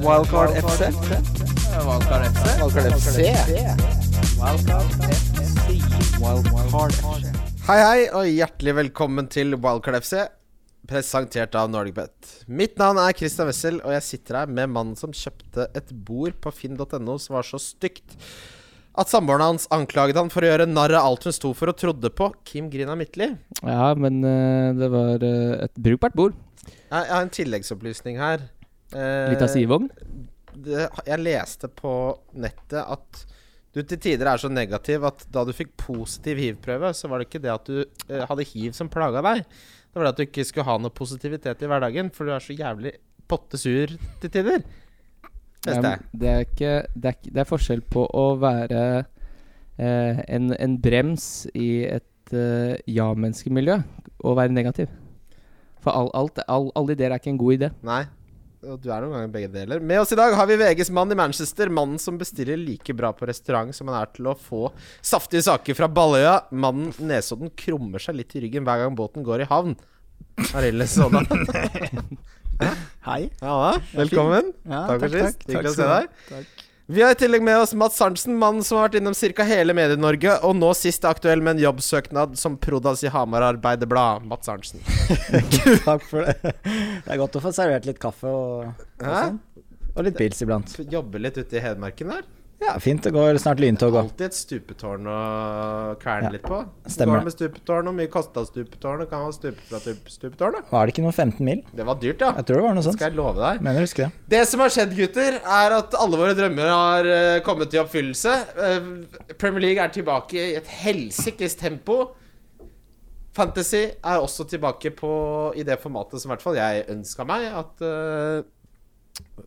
Wildcard FC. Valkar FC. Wildcard FC. Wildcard FC. Hei, hei, og hjertelig velkommen til Wildcard FC, presentert av NordicBet. Mitt navn er Christian Wessel, og jeg sitter her med mannen som kjøpte et bord på finn.no som var så stygt at samboeren hans anklaget han for å gjøre narr av alt hun sto for og trodde på. Kim Grina Midtly. Ja, men eh, det var eh, et brukbart bord. Jeg jeg har en tilleggsopplysning her. Eh, Litt av sidevogn. det, jeg leste på nettet at du til tider er så negativ at da du fikk positiv hiv-prøve, så var det ikke det at du eh, hadde hiv som plaga deg. Det var det at du ikke skulle ha noe positivitet i hverdagen, for du er så jævlig pottesur til tider. Ja, Leste men jeg. det, er ikke, det, er, ikke- det er forskjell på å være eh, en, en brems i et eh, ja-menneskemiljø og være negativ. For all, alt, all, alle ideer er ikke en god idé. Nei. Og du er noen ganger begge deler. Med oss i dag har vi VGs mann i Manchester. Mannen som bestiller like bra på restaurant som han er til å få saftige saker fra Balløya. Mannen Nesodden krummer seg litt i ryggen hver gang båten går i havn. Arild Nesodda. Hei. Ja, velkommen. Ja, Takk for sist. Hyggelig å se skal deg. du ha. Takk. Vi har i tillegg med oss Mats Arntzen, mannen som har vært innom ca. hele Medie-Norge, og nå sist er aktuell med en jobbsøknad som Prodas i Hamar Arbeiderblad. Mats Arntzen. Takk for det. Det er godt å få servert litt kaffe og, og Hæ? sånn. Og litt pils iblant. Jobber litt ute i Hedmarken der. Ja, fint. Det går snart lyntog òg. Alltid et stupetårn å kverne Ja, litt på. stemmer Går med stupetårn, og mye kosta stupetårnet? Kan man stupe fra stup- stupetårnet? Var det ikke noe 15 mil? Det var dyrt, ja. Jeg tror det var noe sånt. Skal jeg love deg. Mener jeg husker det. Det som har skjedd, gutter, er at alle våre drømmer har eh, kommet i oppfyllelse. Eh, Premier League er tilbake i et helsikes tempo. Fantasy er også tilbake på, i det formatet som i hvert fall jeg ønska meg. At eh,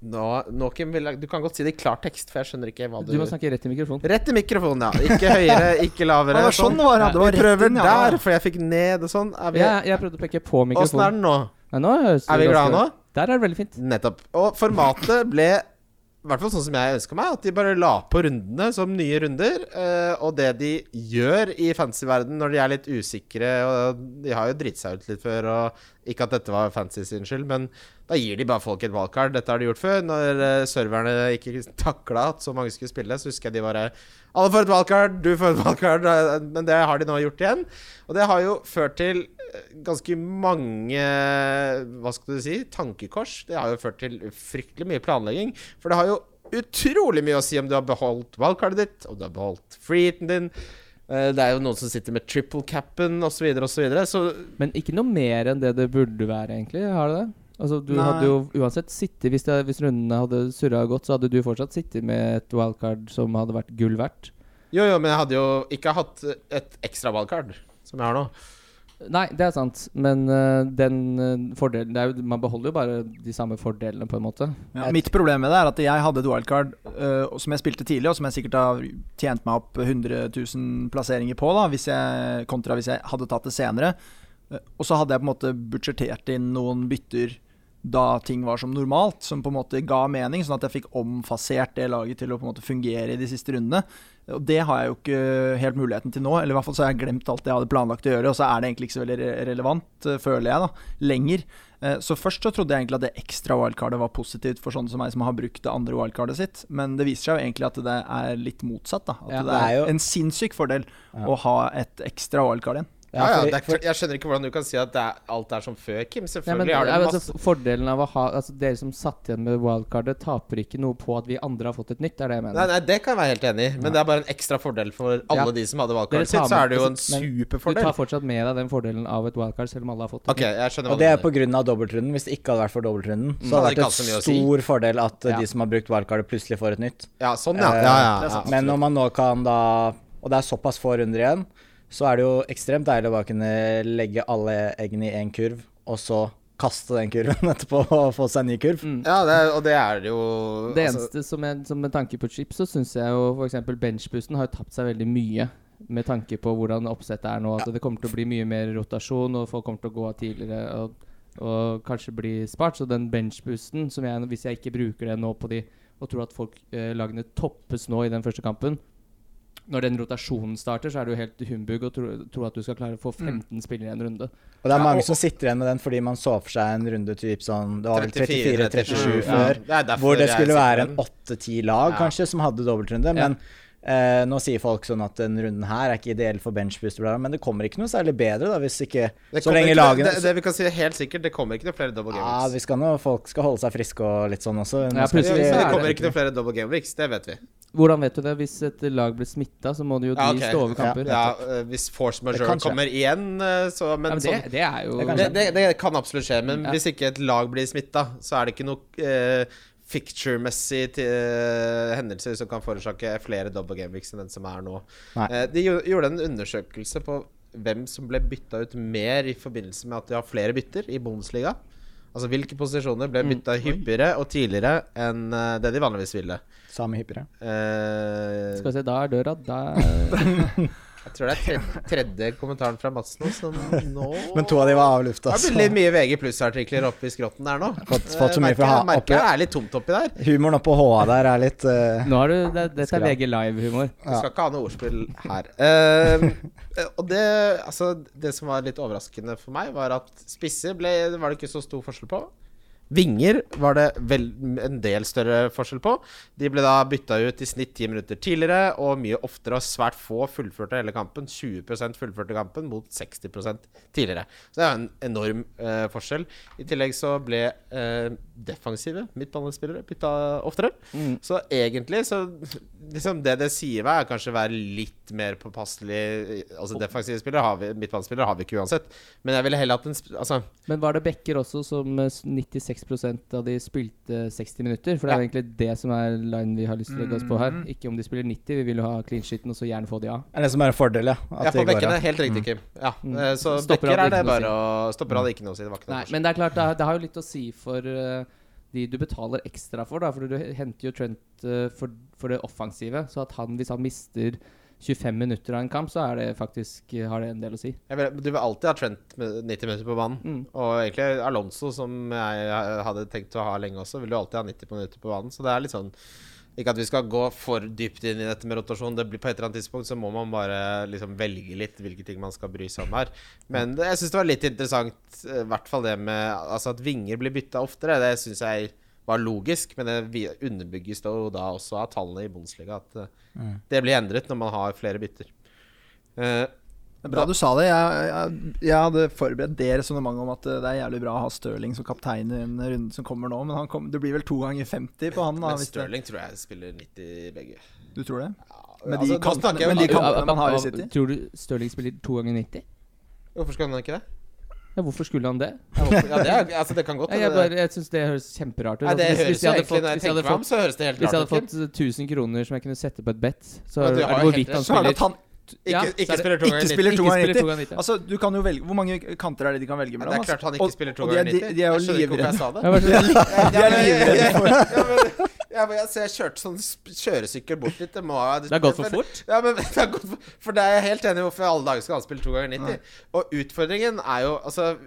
nå, nå, Kim, vil jeg, Du kan godt si det i klar tekst, for jeg skjønner ikke hva du, Du må snakke rett i mikrofonen. Rett i mikrofonen, ja. Ikke høyere, ikke lavere. Ja, det var sånn det var, ja. Det var Vi rett prøver inn, ja. der, for jeg fikk ned og sånn. Er vi, Jeg, jeg prøvde å peke på Åssen er den mikrofonen. nå? Nei, nå høres det Er vi glade ganske- nå? Der er det veldig fint. Nettopp. Og formatet ble i hvert fall sånn som jeg ønska meg, at de bare la på rundene som nye runder. eh, og det de gjør i fantasyverden når de er litt usikre og De har jo dritt seg ut litt før, og ikke at dette var fancy sin skyld, men da gir de bare folk et valgkart. Dette har de gjort før. Når eh, serverne ikke takla at så mange skulle spille, så husker jeg de bare Alle får et valgkart, du får et valgkart, eh, men det har de nå gjort igjen. Og det har jo ført til eh, ganske mange Hva skal du si? Tankekors. Det har jo ført til fryktelig mye planlegging. For det har jo utrolig mye å si om du har beholdt wildcardet ditt, om du har beholdt freeheaten din. Eh, Det er jo noen som sitter med triple capen osv. osv. Så Men ikke noe mer enn det det burde være, egentlig. Har det det? Altså, du Nei. hadde jo uansett sittet Hvis, det, hvis rundene hadde surra godt, så hadde du fortsatt sittet med et wildcard som hadde vært gull verdt. Jo, jo, men jeg hadde jo ikke hatt et ekstra wildcard, som jeg har nå. Nei, det er sant, men øh, den øh, fordelen det er jo, Man beholder jo bare de samme fordelene, på en måte. Ja, mitt problem med det er at jeg hadde et wildcard eh, og som jeg spilte tidlig, og som jeg sikkert har tjent meg opp 100 000 plasseringer på, da, hvis jeg, kontra hvis jeg hadde tatt det senere. Eh, og så hadde jeg på en måte budsjettert inn noen bytter da ting var som normalt, som på en måte ga mening, sånn at jeg fikk omfasert det laget til å på en måte fungere i de siste rundene. Og det har jeg jo ikke helt muligheten til nå, eller i hvert fall så har jeg glemt alt jeg hadde planlagt å gjøre, og så er det egentlig ikke så veldig re- relevant, eh, føler jeg, da, lenger. Eh, Så først så trodde jeg egentlig at det ekstra wildcardet var positivt for sånne som meg som har brukt det andre wildcardet sitt, men det viser seg jo egentlig at det er litt motsatt, da. At Ja, det er det er jo- en sinnssyk fordel å ha et ekstra wildcard igjen. Ja, ja, fordi- det er, ikke- jeg skjønner ikke hvordan du kan si at det er, alt er som før, Kim. Nei, men, Selvfølgelig har ja, du men masse altså, fordelen av å ha Altså Dere som satt igjen med wildcardet, taper ikke noe på at vi andre har fått et nytt. Det er det jeg mener. Nei, nei, det kan jeg være helt enig i, men det er bare en ekstra fordel for alle Ja. de som hadde Dere valgkart tar sitt, så er det jo en med- men Du superfordel. tar fortsatt med deg den fordelen av et wildcard, selv om alle har fått Ok, jeg skjønner Og hva du det er mener. pga. dobbeltrunden. Hvis det ikke hadde vært for dobbeltrunden, så hadde Mm, hadde det det ikke hatt så vært mye å en si. stor fordel at eh, Ja. de som har brukt wildcardet, plutselig får et nytt. Ja, sånn, ja. ja, Eh, ja, det er ja. sant. Men når man nå kan da Og det er såpass få runder igjen, så er det jo ekstremt deilig å bare kunne legge alle eggene i én kurv, og så kaste den kurven etterpå og få seg en ny kurv. ja det, er- og det er det jo Det altså, eneste som, jeg, som med tanke på chips, så syns jeg jo f.eks. benchboosten har jo tapt seg veldig mye. Med tanke på hvordan oppsettet er nå. At det kommer til å bli mye mer rotasjon, og folk kommer til å gå av tidligere og, og kanskje bli spart. Så den benchboosten, som jeg, hvis jeg ikke bruker det nå på de, og tror at folk eh, lagene toppes nå i den første kampen, når den rotasjonen starter, så er det jo helt humbug å tro, tro at du skal klare å Mm. få 15 spillere i en runde. Og det er Ja, mange og- som sitter igjen med den fordi man så for seg en runde typ sånn Det var vel 34-37 34, før, Ja, det er derfor hvor det jeg skulle sitter være med en den. 8-10 lag Ja. kanskje som hadde dobbeltrunde. Men eh, nå sier folk sånn at den runden her er ikke ideell for benchbooster, bla, bla, men det kommer ikke noe særlig bedre da hvis ikke Det Så kommer lenge ikke, lagene det, det vi kan si helt sikkert, det kommer ikke noe flere double game ja, weeks. vi skal nå, Folk skal holde seg friske og litt sånn også. Ja, Nå skal plutselig vi- så det er kommer ikke noe flere double game weeks, det vet vi. Hvordan vet du det? Hvis et lag blir smitta, så må du jo de Ja, ok. stå over kamper. Ja, eh, hvis force majeure kan skje. kommer igjen, eh, så Ja, Men, men det, sånn det er jo Det kan det, det, det kan absolutt skje, men Ja. hvis ikke et lag blir smitta, så er det ikke noe eh, Ficture-messig til, eh, hendelser som kan forårsake flere double game weeks enn den som er nå. Nei. Eh, de gjo- gjorde en undersøkelse på hvem som ble bytta ut mer i forbindelse med at de har flere bytter i Bundesliga. Altså hvilke posisjoner Mm. ble bytta hyppigere og tidligere enn eh, det de vanligvis ville. Samme hyppigere. Eh, Skal vi se, da er døra da jeg tror det er tredje, tredje kommentaren fra Madsen nå, som nå Men to av de var av lufta. Det så- blir litt mye VG artikler oppe i skrotten der nå. Fått- fått så mye Jeg fra merker- jeg oppi- merker det er litt tomt oppi der. Humoren oppå HA der er litt eh, Nå har du det, Dette Skal er jeg- VG Live-humor. Du skal ikke ha noe ordspill her. Eh, og det, altså, det som var litt overraskende for meg, var at spisser ble, var det ikke så stor forskjell på. Vinger var det vel en del større forskjell på. De ble da bytta ut i snitt ti minutter tidligere og mye oftere, og svært få fullførte hele kampen. 20 fullførte kampen mot 60 tidligere. Så det er jo en enorm eh, forskjell. I tillegg så ble eh, defensive midtbanespillere bytta oftere. Så egentlig så liksom Det det sier meg, er kanskje å være litt mer påpasselig Altså defensive spillere har vi, midtbanespillere har vi ikke uansett, men jeg ville heller hatt en sp- Altså Men var det backer også som eh, s- 96 av de spilte 60 minutter? For det er jo egentlig det som er linen vi har lyst til å legge oss på her. Ikke om de spiller 90, vi vil jo ha clean sheeten og så gjerne få de av. Er det som er en fordel, ja. Ja, At det for går bekkene. av. Helt riktig, Kim. Ja, eh, Så Stopper bekker hadde er det ikke noe å bare å Stopper hadde ikke noe å si. Det var ikke noe Nei, forskjell. men det er klart, det, har- det har jo litt å si for eh, de du betaler ekstra for, da. For du henter jo Trent eh, for, for det offensive. Så at han, hvis han mister 25 minutter av en kamp, så er det faktisk, eh, har det en del å si. Jeg vil, du vil alltid ha Trent med 90 minutter på banen. Og egentlig Alonso, som jeg hadde tenkt å ha lenge også, vil du alltid ha 90 minutter på banen. Så det er litt sånn Ikke at vi skal gå for dypt inn i dette med rotasjon. Det blir På et eller annet tidspunkt så må man bare liksom velge litt hvilke ting man skal bry seg om her. Men det- jeg syns det var litt interessant, eh, i hvert fall det med altså at vinger blir bytta oftere. Det syns jeg var logisk, men det vi- underbygges da jo da også av tallene i Bundesliga at eh, det blir endret når man har flere bytter. Eh, Det er bra du sa det. Jeg, jeg, jeg hadde forberedt det resonnementet om at eh, det er jævlig bra å ha Stirling som kaptein i en runde som kommer nå, men han kom, det blir vel to ganger 50 på han, da. Men Hvis det, Stirling tror jeg spiller 90 begge. du tror det? Ja, Med altså, de nå snakker kampene, jeg men jo de bare- kampene man har i City? Tror du Stirling spiller to ganger 90? Hvorfor skal han ikke det? Ja, hvorfor skulle han det? Ja, hvorfor- ja, det, er, altså, det kan godt Nei, jeg bare, jeg syns det høres kjemperart ut. Nei, det Altså, høres jo egentlig Når jeg jeg hadde hvis jeg tenker hadde meg om, fått, så høres det helt hvis jeg rart hadde ut. Kim. fått 1000 kroner som jeg kunne sette på et bet, så Men er du det har jo helt hvorvidt rett. han Så er det spiller at han Ja, Ikke, så ikke er det- spiller to ikke ganger 90. spiller to Ikke ganger spiller to 90. ganger 90. Altså, du kan jo velge Hvor mange kanter er det de kan velge Ja, mellom? Det er altså? klart han Og- ikke spiller to og de er- ganger 90. de- De er jo Jeg skjønner ikke hvorfor livredde. jeg sa det. Jeg bare sånn, Jeg- De er jeg- jeg- livredde for Ja, men- ja, men jeg, så jeg kjørte sånn sp- kjøresykkel bort litt. Det, må, ha- Det har gått for men- fort. Ja, men det har gått for, for det er jeg helt enig i. Hvorfor i alle dager skal han spille to ganger 90? Og utfordringen er jo Altså,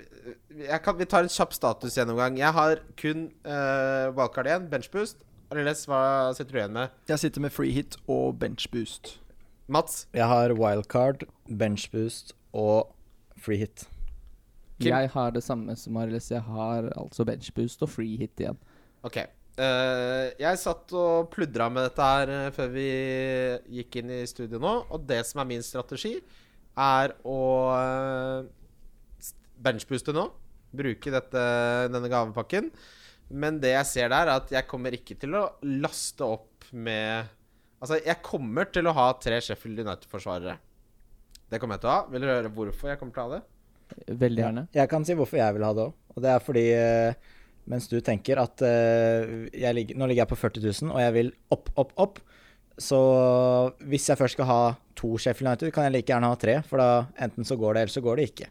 jeg kan, vi tar en kjapp statusgjennomgang. Jeg har kun uh, wildcard igjen, benchboost. Ariles, hva sitter du igjen med? Jeg sitter med free hit og bench boost. Mats? Jeg har wildcard, benchboost og free hit. Kim? Jeg har det samme som Arilis. Jeg har altså benchboost og free hit igjen. Ok. Eh, jeg satt og pludra med dette her eh, før vi gikk inn i studio nå, og det som er min strategi, er å eh, s- benchbooste nå. Bruke dette, denne gavepakken. Men det jeg ser der, er at jeg kommer ikke til å laste opp med Altså, jeg kommer til å ha tre Sheffield United-forsvarere. Det kommer jeg til å ha. Vil dere høre hvorfor jeg kommer til å ha det? Veldig gjerne. Jeg kan si hvorfor jeg vil ha det òg. Og det er fordi eh, mens du tenker at eh, jeg ligger, Nå ligger jeg på 40 000, og jeg vil opp, opp, opp. Så hvis jeg først skal ha to Sheffield United, kan jeg like gjerne ha tre. For da enten så går det, eller så går det ikke.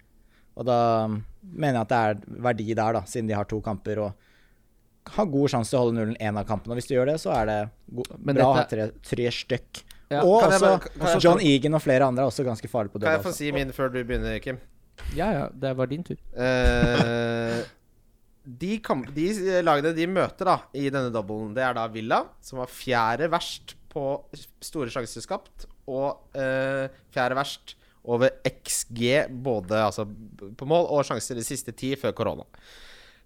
Og da mener jeg at det er verdi der, da, siden de har to kamper og har god sjanse til å holde nullen én av kampene. Og hvis du gjør det, så er det go- Men bra å ha dette- tre, tre stykk. Ja. Og Kan jeg også, bare- kan jeg- John Egan og flere andre er også ganske farlige på Kan jeg død. få si min før du begynner, Kim? Ja ja, det var din tur. Eh, de, kamp, de eh, lagene de møter da i denne doublen, det er da Villa, som var fjerde verst på store sjanser skapt, og eh, fjerde verst over XG, både altså, på mål og sjanser de siste ti før korona.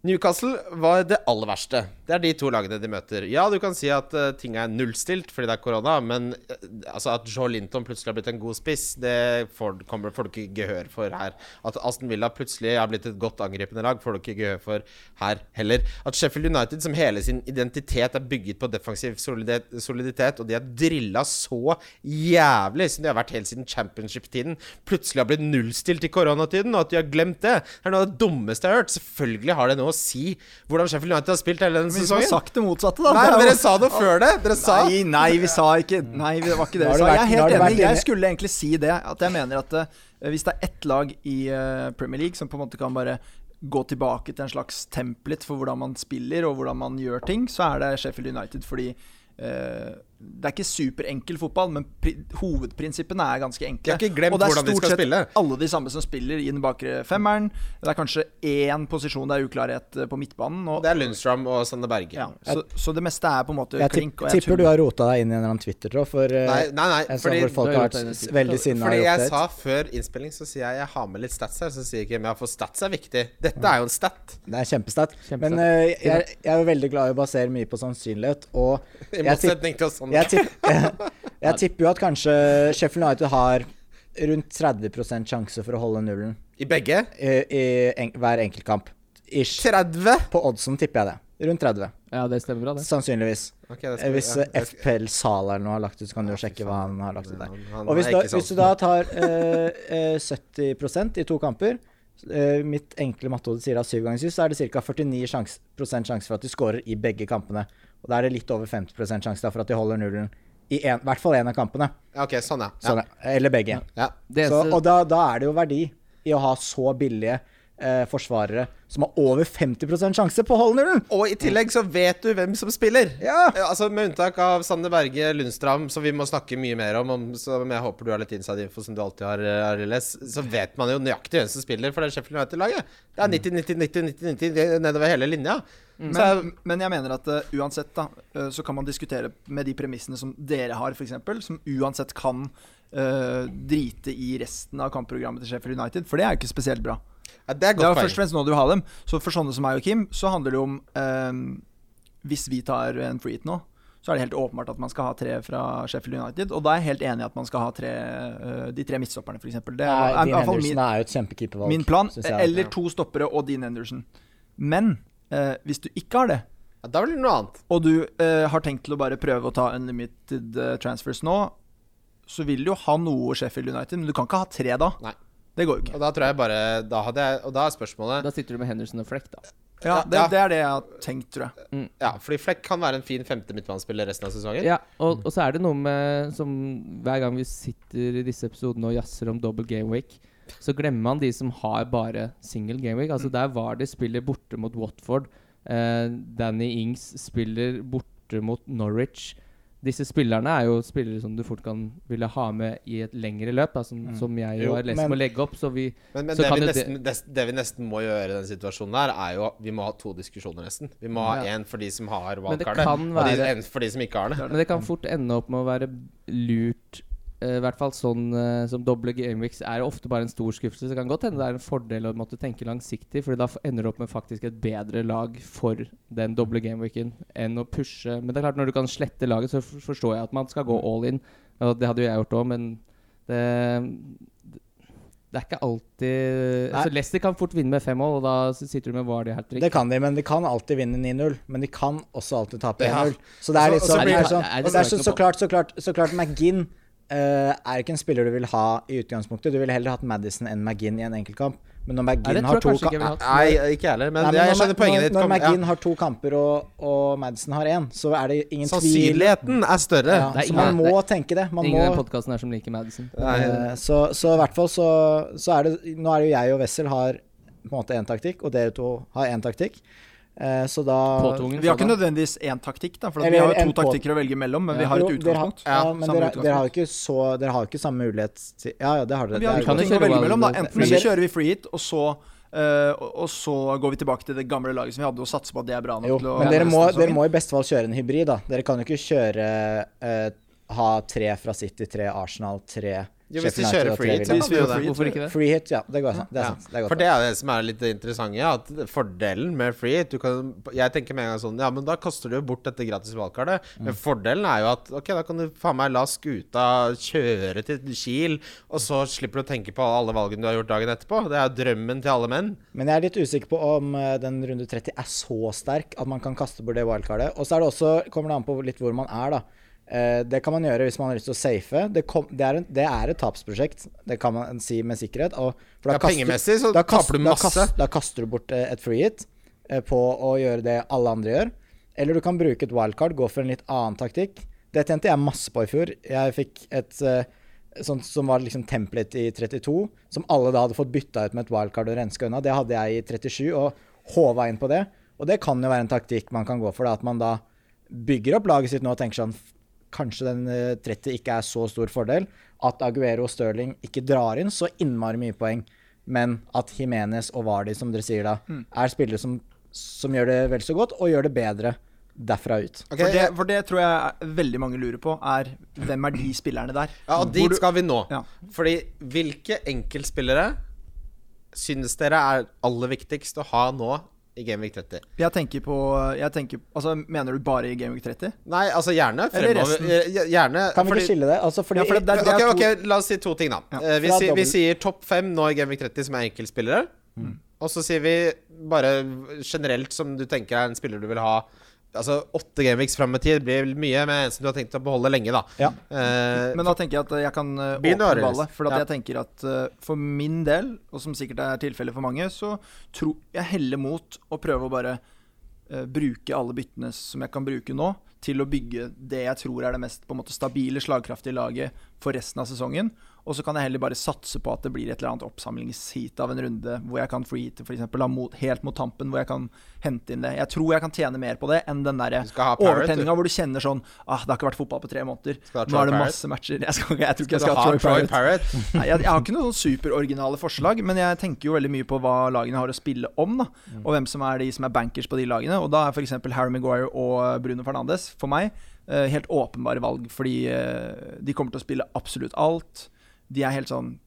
Newcastle var det aller verste. Det er de to lagene de møter. Ja, du kan si at eh, ting er nullstilt fordi det er korona, men eh, altså at Joe Linton plutselig har blitt en god spiss, det får, kommer, får du ikke gehør for her. At Aston Villa plutselig har blitt et godt angripende lag, får du ikke gehør for her heller. At Sheffield United, som hele sin identitet er bygget på defensiv soliditet, soliditet og de har drilla så jævlig som de har vært helt siden championship-tiden, plutselig har blitt nullstilt i koronatiden, og at de har glemt det, er noe av det dummeste jeg har hørt. Selvfølgelig har det noe å si hvordan Sheffield United har spilt hele denne Men vi som har sesongen. sagt det motsatte, da. Nei, Det er men jo- dere sa noe før det. Dere sa Nei, nei, vi sa ikke Nei, det var ikke det Nå har vi sa. du vært- nå Jeg er har helt du vært enig. Jeg inne- skulle egentlig si det. At jeg mener at eh, hvis det er ett lag i eh, Premier League som på en måte kan bare gå tilbake til en slags template for hvordan man spiller og hvordan man gjør ting, så er det Sheffield United. Fordi eh, det er ikke superenkel fotball, men pri hovedprinsippene er ganske enkle. De har ikke glemt og det er hvordan de skal stort sett spille. alle de samme som spiller i den bakre femmeren. Det er kanskje én posisjon det er uklarhet eh, på midtbanen. Og, Det er Lundstrøm og Sander Berge. ja, så, så det meste er på en måte Jeg tipp- klink. og jeg tipper du har rota deg inn i en eller annen Twitter-tråd, for eh, Nei, nei, nei, jeg så fordi- hvor folk Du har har rota deg inn i vært s- en veldig sinna. Fordi og jeg opptatt. sa før innspilling, så sier jeg jeg har med litt stats her. Så sier jeg ikke men ja, for stats er viktig. Dette er jo en stat. Det er kjempestat. Kjempestat. Men eh, jeg, jeg er jo veldig glad i å basere mye på sannsynlighet, og I jeg, tipp, motsetning til oss sånn. jeg, tipp, jeg, jeg tipper jo at kanskje Sheffield United har rundt 30 sjanse for å holde nullen I begge. i, i en, hver enkeltkamp. Ish. 30! På oddsen tipper jeg det. Rundt 30, Ja, det stemmer bra, det. sannsynligvis. Ok, det Eh, skal- Hvis ja, eh, jeg skal- FPL Sala eller noe har lagt ut, så kan du jo sjekke hva han har lagt ut der. Han- han Og hvis, er da, ikke sånn. hvis du da tar eh, eh, 70 i to kamper eh, Mitt enkle mattehode sier at syv ganger syv, så er det ca. 49 sjans, prosent sjanse for at de scorer i begge kampene. Og da er det litt over 50 sjanse da for at de holder nullen i en, hvert fall én av kampene. Ja, Ok, sånn, ja. ja. Sånn, Eller begge. ja. det Så, eneste- og da, da er det jo verdi i å ha så billige eh, forsvarere som har over 50 sjanse på å holde nullen! Og i tillegg så vet du hvem som spiller. Ja. Altså Med unntak av Sander Berge Lundstram, som vi må snakke mye mer om, om som jeg håper du har litt inside info, som du alltid har, eh, RLS, så vet man jo nøyaktig hvem som spiller for det Sheffield United-laget. Det er 90-90-90-90 nedover hele linja. Mm. Så er- Men, men jeg mener at eh, uansett da, eh, så kan man diskutere med de premissene som dere har, f.eks., som uansett kan eh, drite i resten av kampprogrammet til Sheffield United, for det er jo ikke spesielt bra. ja, det er Det er godt jo først og poeng. fremst nå du har dem. Så for sånne som meg og Kim, så handler det jo om eh, Hvis vi tar en free hit nå, så er det helt åpenbart at man skal ha tre fra Sheffield United. Og da er jeg helt enig i at man skal ha tre, eh, de tre midtstopperne, f.eks. Det Nei, er, er, er, Dean i hvert fall min, Henderson er jo et kjempekeepervalg. min plan. synes jeg. Eller to stoppere og Dean Henderson. Men eh, hvis du ikke har det Ja, da blir det noe annet. og du eh, har tenkt til å bare prøve å ta unlimited eh, transfers nå, så vil du jo ha noe Sheffield United, men du kan ikke ha tre da. Nei. Det går jo ikke. Og da tror jeg bare Da hadde jeg Og da er spørsmålet Da sitter du med Henderson og Fleck, da. Ja, Ja, det, ja. det er det jeg har tenkt, tror jeg. Ja, fordi Fleck kan være en fin femte midtbanespiller resten av sesongen. Ja, og, og så er det noe med som Hver gang vi sitter i disse episodene og jazzer om dobbel gameweek, så glemmer man de som har bare single gameweek. Altså Mm. Der var det spillet borte mot Watford. Eh, Danny Ings spiller borte mot Norwich. Disse spillerne er jo spillere som du fort kan ville ha med i et lengre løp, da, som, som jeg Jo, jo har lest men- med å legge opp. Så vi Mm. Men, men Så det, kan vi jo det- nesten, des- det vi nesten må gjøre i den situasjonen her, er jo Vi må ha to diskusjoner, nesten. Vi må ha Ja. én for de som har Men det wildcardet, kan og de, være- en for de som ikke har det. Men det kan fort ende opp med å være lurt. eh, I hvert fall sånn eh, som doble gameweeks er jo ofte bare en stor skuffelse. Så det kan godt hende det er en fordel å måtte tenke langsiktig, Fordi da f- ender du opp med faktisk et bedre lag for den doble gameweeken enn å pushe. Men det er klart når du kan slette laget, så f- forstår jeg at man skal gå all in. Og det hadde jo jeg gjort òg, men det det er ikke alltid altså Leicester kan fort vinne med fem mål, og da s- sitter du med Vardy hat trick. Det kan de, men de kan alltid vinne 9-0. Men de kan også alltid tape Ja. 1-0. Så det er Og så- og litt så sånn, det blir- er sånn Nei, det og det er skal så, jeg så ikke klart, så klart, så klart McGinn eh, er ikke en spiller du vil ha i utgangspunktet. Du ville heller hatt Madison enn McGinn i en enkeltkamp. Men når Nei, det McGinn tror har jeg to kanskje ikke jeg kamper ville hatt. Nei, ikke jeg heller, men, Nei, men jeg, når, skjønner poenget når, ditt. når Kom, McGinn ja. har to kamper og, og Madison har én, så er det ingen tvil. Sannsynligheten er større. Ja, Det er så ingen- man må tenke det. Man Ingen i må den podkasten her som liker Madison. Nei. Eh, Så, så i hvert fall så, så er det Nå er det jo jeg og Wessel har på en måte én taktikk, og dere to har én taktikk. Eh, Så da Påtvungen Vi har ikke sådan. nødvendigvis én taktikk, da, for at vi Eller har jo en to på- taktikker å velge mellom, men vi Ja. har Jo, et dere har- utgangspunkt. Ja, men Samme dere, utgangspunkt. dere har jo ikke så Dere har jo ikke samme mulighet til Ja, ja, det har dere. Men vi det er jo har jo to kan godt. ting jo å kjøre velge mellom, da. valg- Enten Men så dere- kjører vi free hit, og så eh, og så går vi tilbake til det gamle laget som vi hadde, og satser på at det er bra nok Jo, til å men dere må, resten av dere sesongen. må i beste fall kjøre en hybrid, da. Dere kan jo ikke kjøre eh, ha tre fra City, tre Arsenal, tre Jo, hvis de Sheffield kjører United og tre free hit, Villa. så kan de jo det. Hvorfor ikke det? Free hit, ja. Det, går, det er sant. Det er Ja, godt. for det er det som er litt interessant. Ja, at fordelen med free hit du kan, Jeg tenker med en gang sånn Ja, men da kaster du jo bort dette gratis valgkartet. Men fordelen er jo at Ok, da kan du faen meg la skuta kjøre til Kiel, og så slipper du å tenke på alle valgene du har gjort dagen etterpå. Det er jo drømmen til alle menn. Men jeg er litt usikker på om eh, den runde 30 er så sterk at man kan kaste bort det wildcardet. Og så er det også, kommer det an på litt hvor man er, da. Eh, Det kan man gjøre hvis man har lyst til å safe. Det, kom, det, er, en, det er et tapsprosjekt, det kan man si med sikkerhet. Og, for Ja, pengemessig så taper du masse. Da, kast, da kaster du bort eh, et free hit eh, på å gjøre det alle andre gjør. Eller du kan bruke et wildcard, gå for en litt annen taktikk. Det tjente jeg masse på i fjor. Jeg fikk et eh, sånt som var liksom template i 32, som alle da hadde fått bytta ut med et wildcard og renska unna. Det hadde jeg i 37, og håva inn på det. Og det kan jo være en taktikk man kan gå for, da, at man da bygger opp laget sitt nå og tenker sånn "F- Kanskje den eh, 30 ikke er så stor fordel. At Aguero og Stirling ikke drar inn så innmari mye poeng, men at Jimenez og Vardi, som dere sier da, er spillere som, som gjør det vel så godt, og gjør det bedre derfra ut. Ok, For, det, for det tror jeg er- veldig mange lurer på, er hvem er de spillerne der? Ja, og Hvor dit du- skal vi nå. Ja. Fordi hvilke enkeltspillere synes dere er aller viktigst å ha nå i Game Week 30? Jeg tenker på jeg tenker, altså, Mener du bare i Gameweek 30? Nei, altså gjerne Eller fremover. eh, Gjerne, Kan vi fordi- ikke skille det? Altså, fordi Ja, for det- det- Ok, er to- ok, La oss si to ting, da. Ja. Eh, vi, sier, Fra vi dobbel- sier topp fem nå i Gamevik 30 som er enkeltspillere. Mm. Og så sier vi bare generelt som du tenker er en spiller du vil ha Altså åtte Gameviks fram i tid blir mye, men en som du har tenkt å beholde lenge, da. Ja. Eh, Men da tenker jeg at jeg kan eh, Begynn du, åpne Arild. ballet. For at Ja. jeg tenker at eh, for min del, og som sikkert er tilfellet for mange, så tror jeg heller mot å prøve å bare eh, bruke alle byttene som jeg kan bruke nå, til å bygge det jeg tror er det mest på en måte stabile, slagkraftige laget for resten av sesongen. Og så kan jeg heller bare satse på at det blir et eller annet oppsamlingsheat av en runde hvor jeg kan freeheate f.eks. helt mot tampen, hvor jeg kan hente inn det. Jeg tror jeg kan tjene mer på det enn den derre Du skal ha Parrot, du. overtenninga hvor du kjenner sånn ah, Det har ikke vært fotball på tre måneder. Skal du ha Nå er Troy det Parrott? masse matcher. Jeg, skal, ikke- jeg tror skal ikke jeg skal ha Troy Parrott. Parrott? Nei, jeg, jeg har ikke noen sånn superoriginale forslag, men jeg tenker jo veldig mye på hva lagene har å spille om, da. Og hvem som er de som er bankers på de lagene. Og da er f.eks. Harry Maguire og Bruno Fernandes for meg eh, helt åpenbare valg, fordi eh, de kommer til å spille absolutt alt. De er helt sånn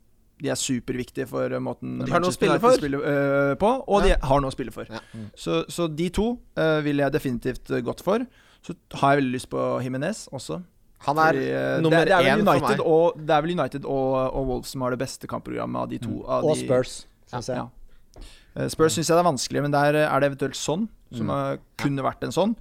de er superviktige for eh, måten Og de har noe å Manchester spille United for. spiller eh, på, og Ja. de har noe å spille for. Ja. Så, så de to eh, vil jeg definitivt eh, gått for. Så har jeg veldig lyst på Jimenez også. Han er Fordi, eh, nummer det, det er vel én for United meg. Og, det er vel United og, og Wolves som har det beste kampprogrammet av de to. Mm. Av Og de, Spurs. Ja, synes jeg. ja. Eh, Spurs syns jeg det er vanskelig, men der eh, er det eventuelt sånn. Mm. Som eh, kunne vært en sånn.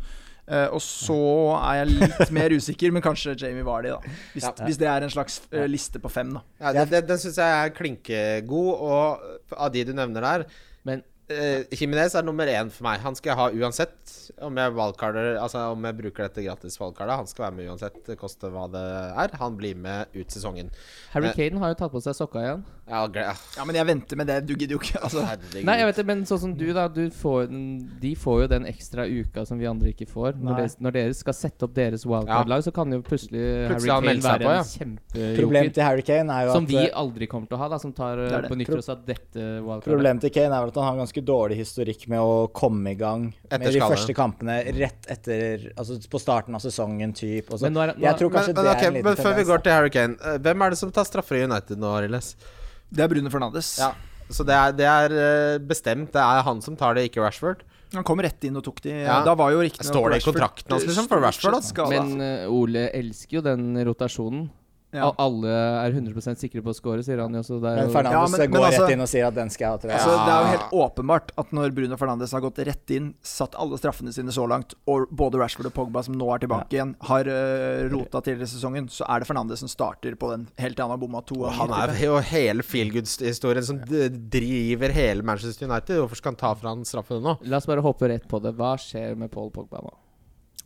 Eh, og så er jeg litt mer usikker, men kanskje Jamie Vardy, da. Hvis, hvis det er en slags eh, liste på fem, da. Ja, det, det, den syns jeg er klinkegod, og av de du nevner der Men- eh, Jimenez er nummer én for meg. Han skal jeg ha uansett. Om jeg, valgkarder, altså, om jeg bruker dette gratis valgkartet. Han skal være med uansett, det koster hva det er. Han blir med ut sesongen. Harry Eh. Kane har jo tatt på seg sokka igjen. Ja, gle- Ja, men jeg venter med det. Du gidder jo ikke. Altså, Herregud. Nei, jeg vet det, men sånn som du, da. Du får, jo den- de får jo den ekstra uka som vi andre ikke får. Når, Nei. dere, når dere skal sette opp deres wildcard-lag, så kan jo plutselig, Plutselig har han Harry Kane meldt seg være en Problemet kjempejoker. til Harry Kane er jo Som at eh, vi aldri kommer til å ha, da. Som tar Det er det. eh, benytter Pro- oss av dette wildcardet. Problemet til Kane er vel at han har ganske dårlig historikk med å komme i gang med Etter de skade. første kampene rett etter Altså på starten av sesongen, typ. Og så. Men nå er det- nå er- jeg tror Men, kanskje men, ok, det er en liten men før vi tendens, går til Harry Kane, eh, hvem er det som tar straffer i United nå, Rilles? det er Bruno Fernandes. Ja. Så det er, det er eh, bestemt. Det er han som tar det, ikke Rashford. Han kom rett inn og tok de. Ja. Da var jo riktig nok Står det i Rashford, kontrakten hans, eh, liksom, for Rashford, da? skada. Men eh, Ole elsker jo den rotasjonen. Ja. Al- Alle er 100 sikre på å score, sier han jo. Så det er Men jo Fernandes Ja, men- går men altså- rett inn og sier at den skal jeg ha til Altså, venstre. det er jo helt åpenbart at når Bruno Fernandes har gått rett inn, satt alle straffene sine så langt, og både Rashford og Pogba, som nå er tilbake igjen, har eh, rota tidligere i sesongen, så er det Fernandes som starter på den helt til han har bomma to. Og ganger. han er jo hele feelgood-historien som d- driver hele Manchester United. Hvorfor skal han ta fra han straffen nå? La oss bare hoppe rett på det. Hva skjer med Paul Pogba nå?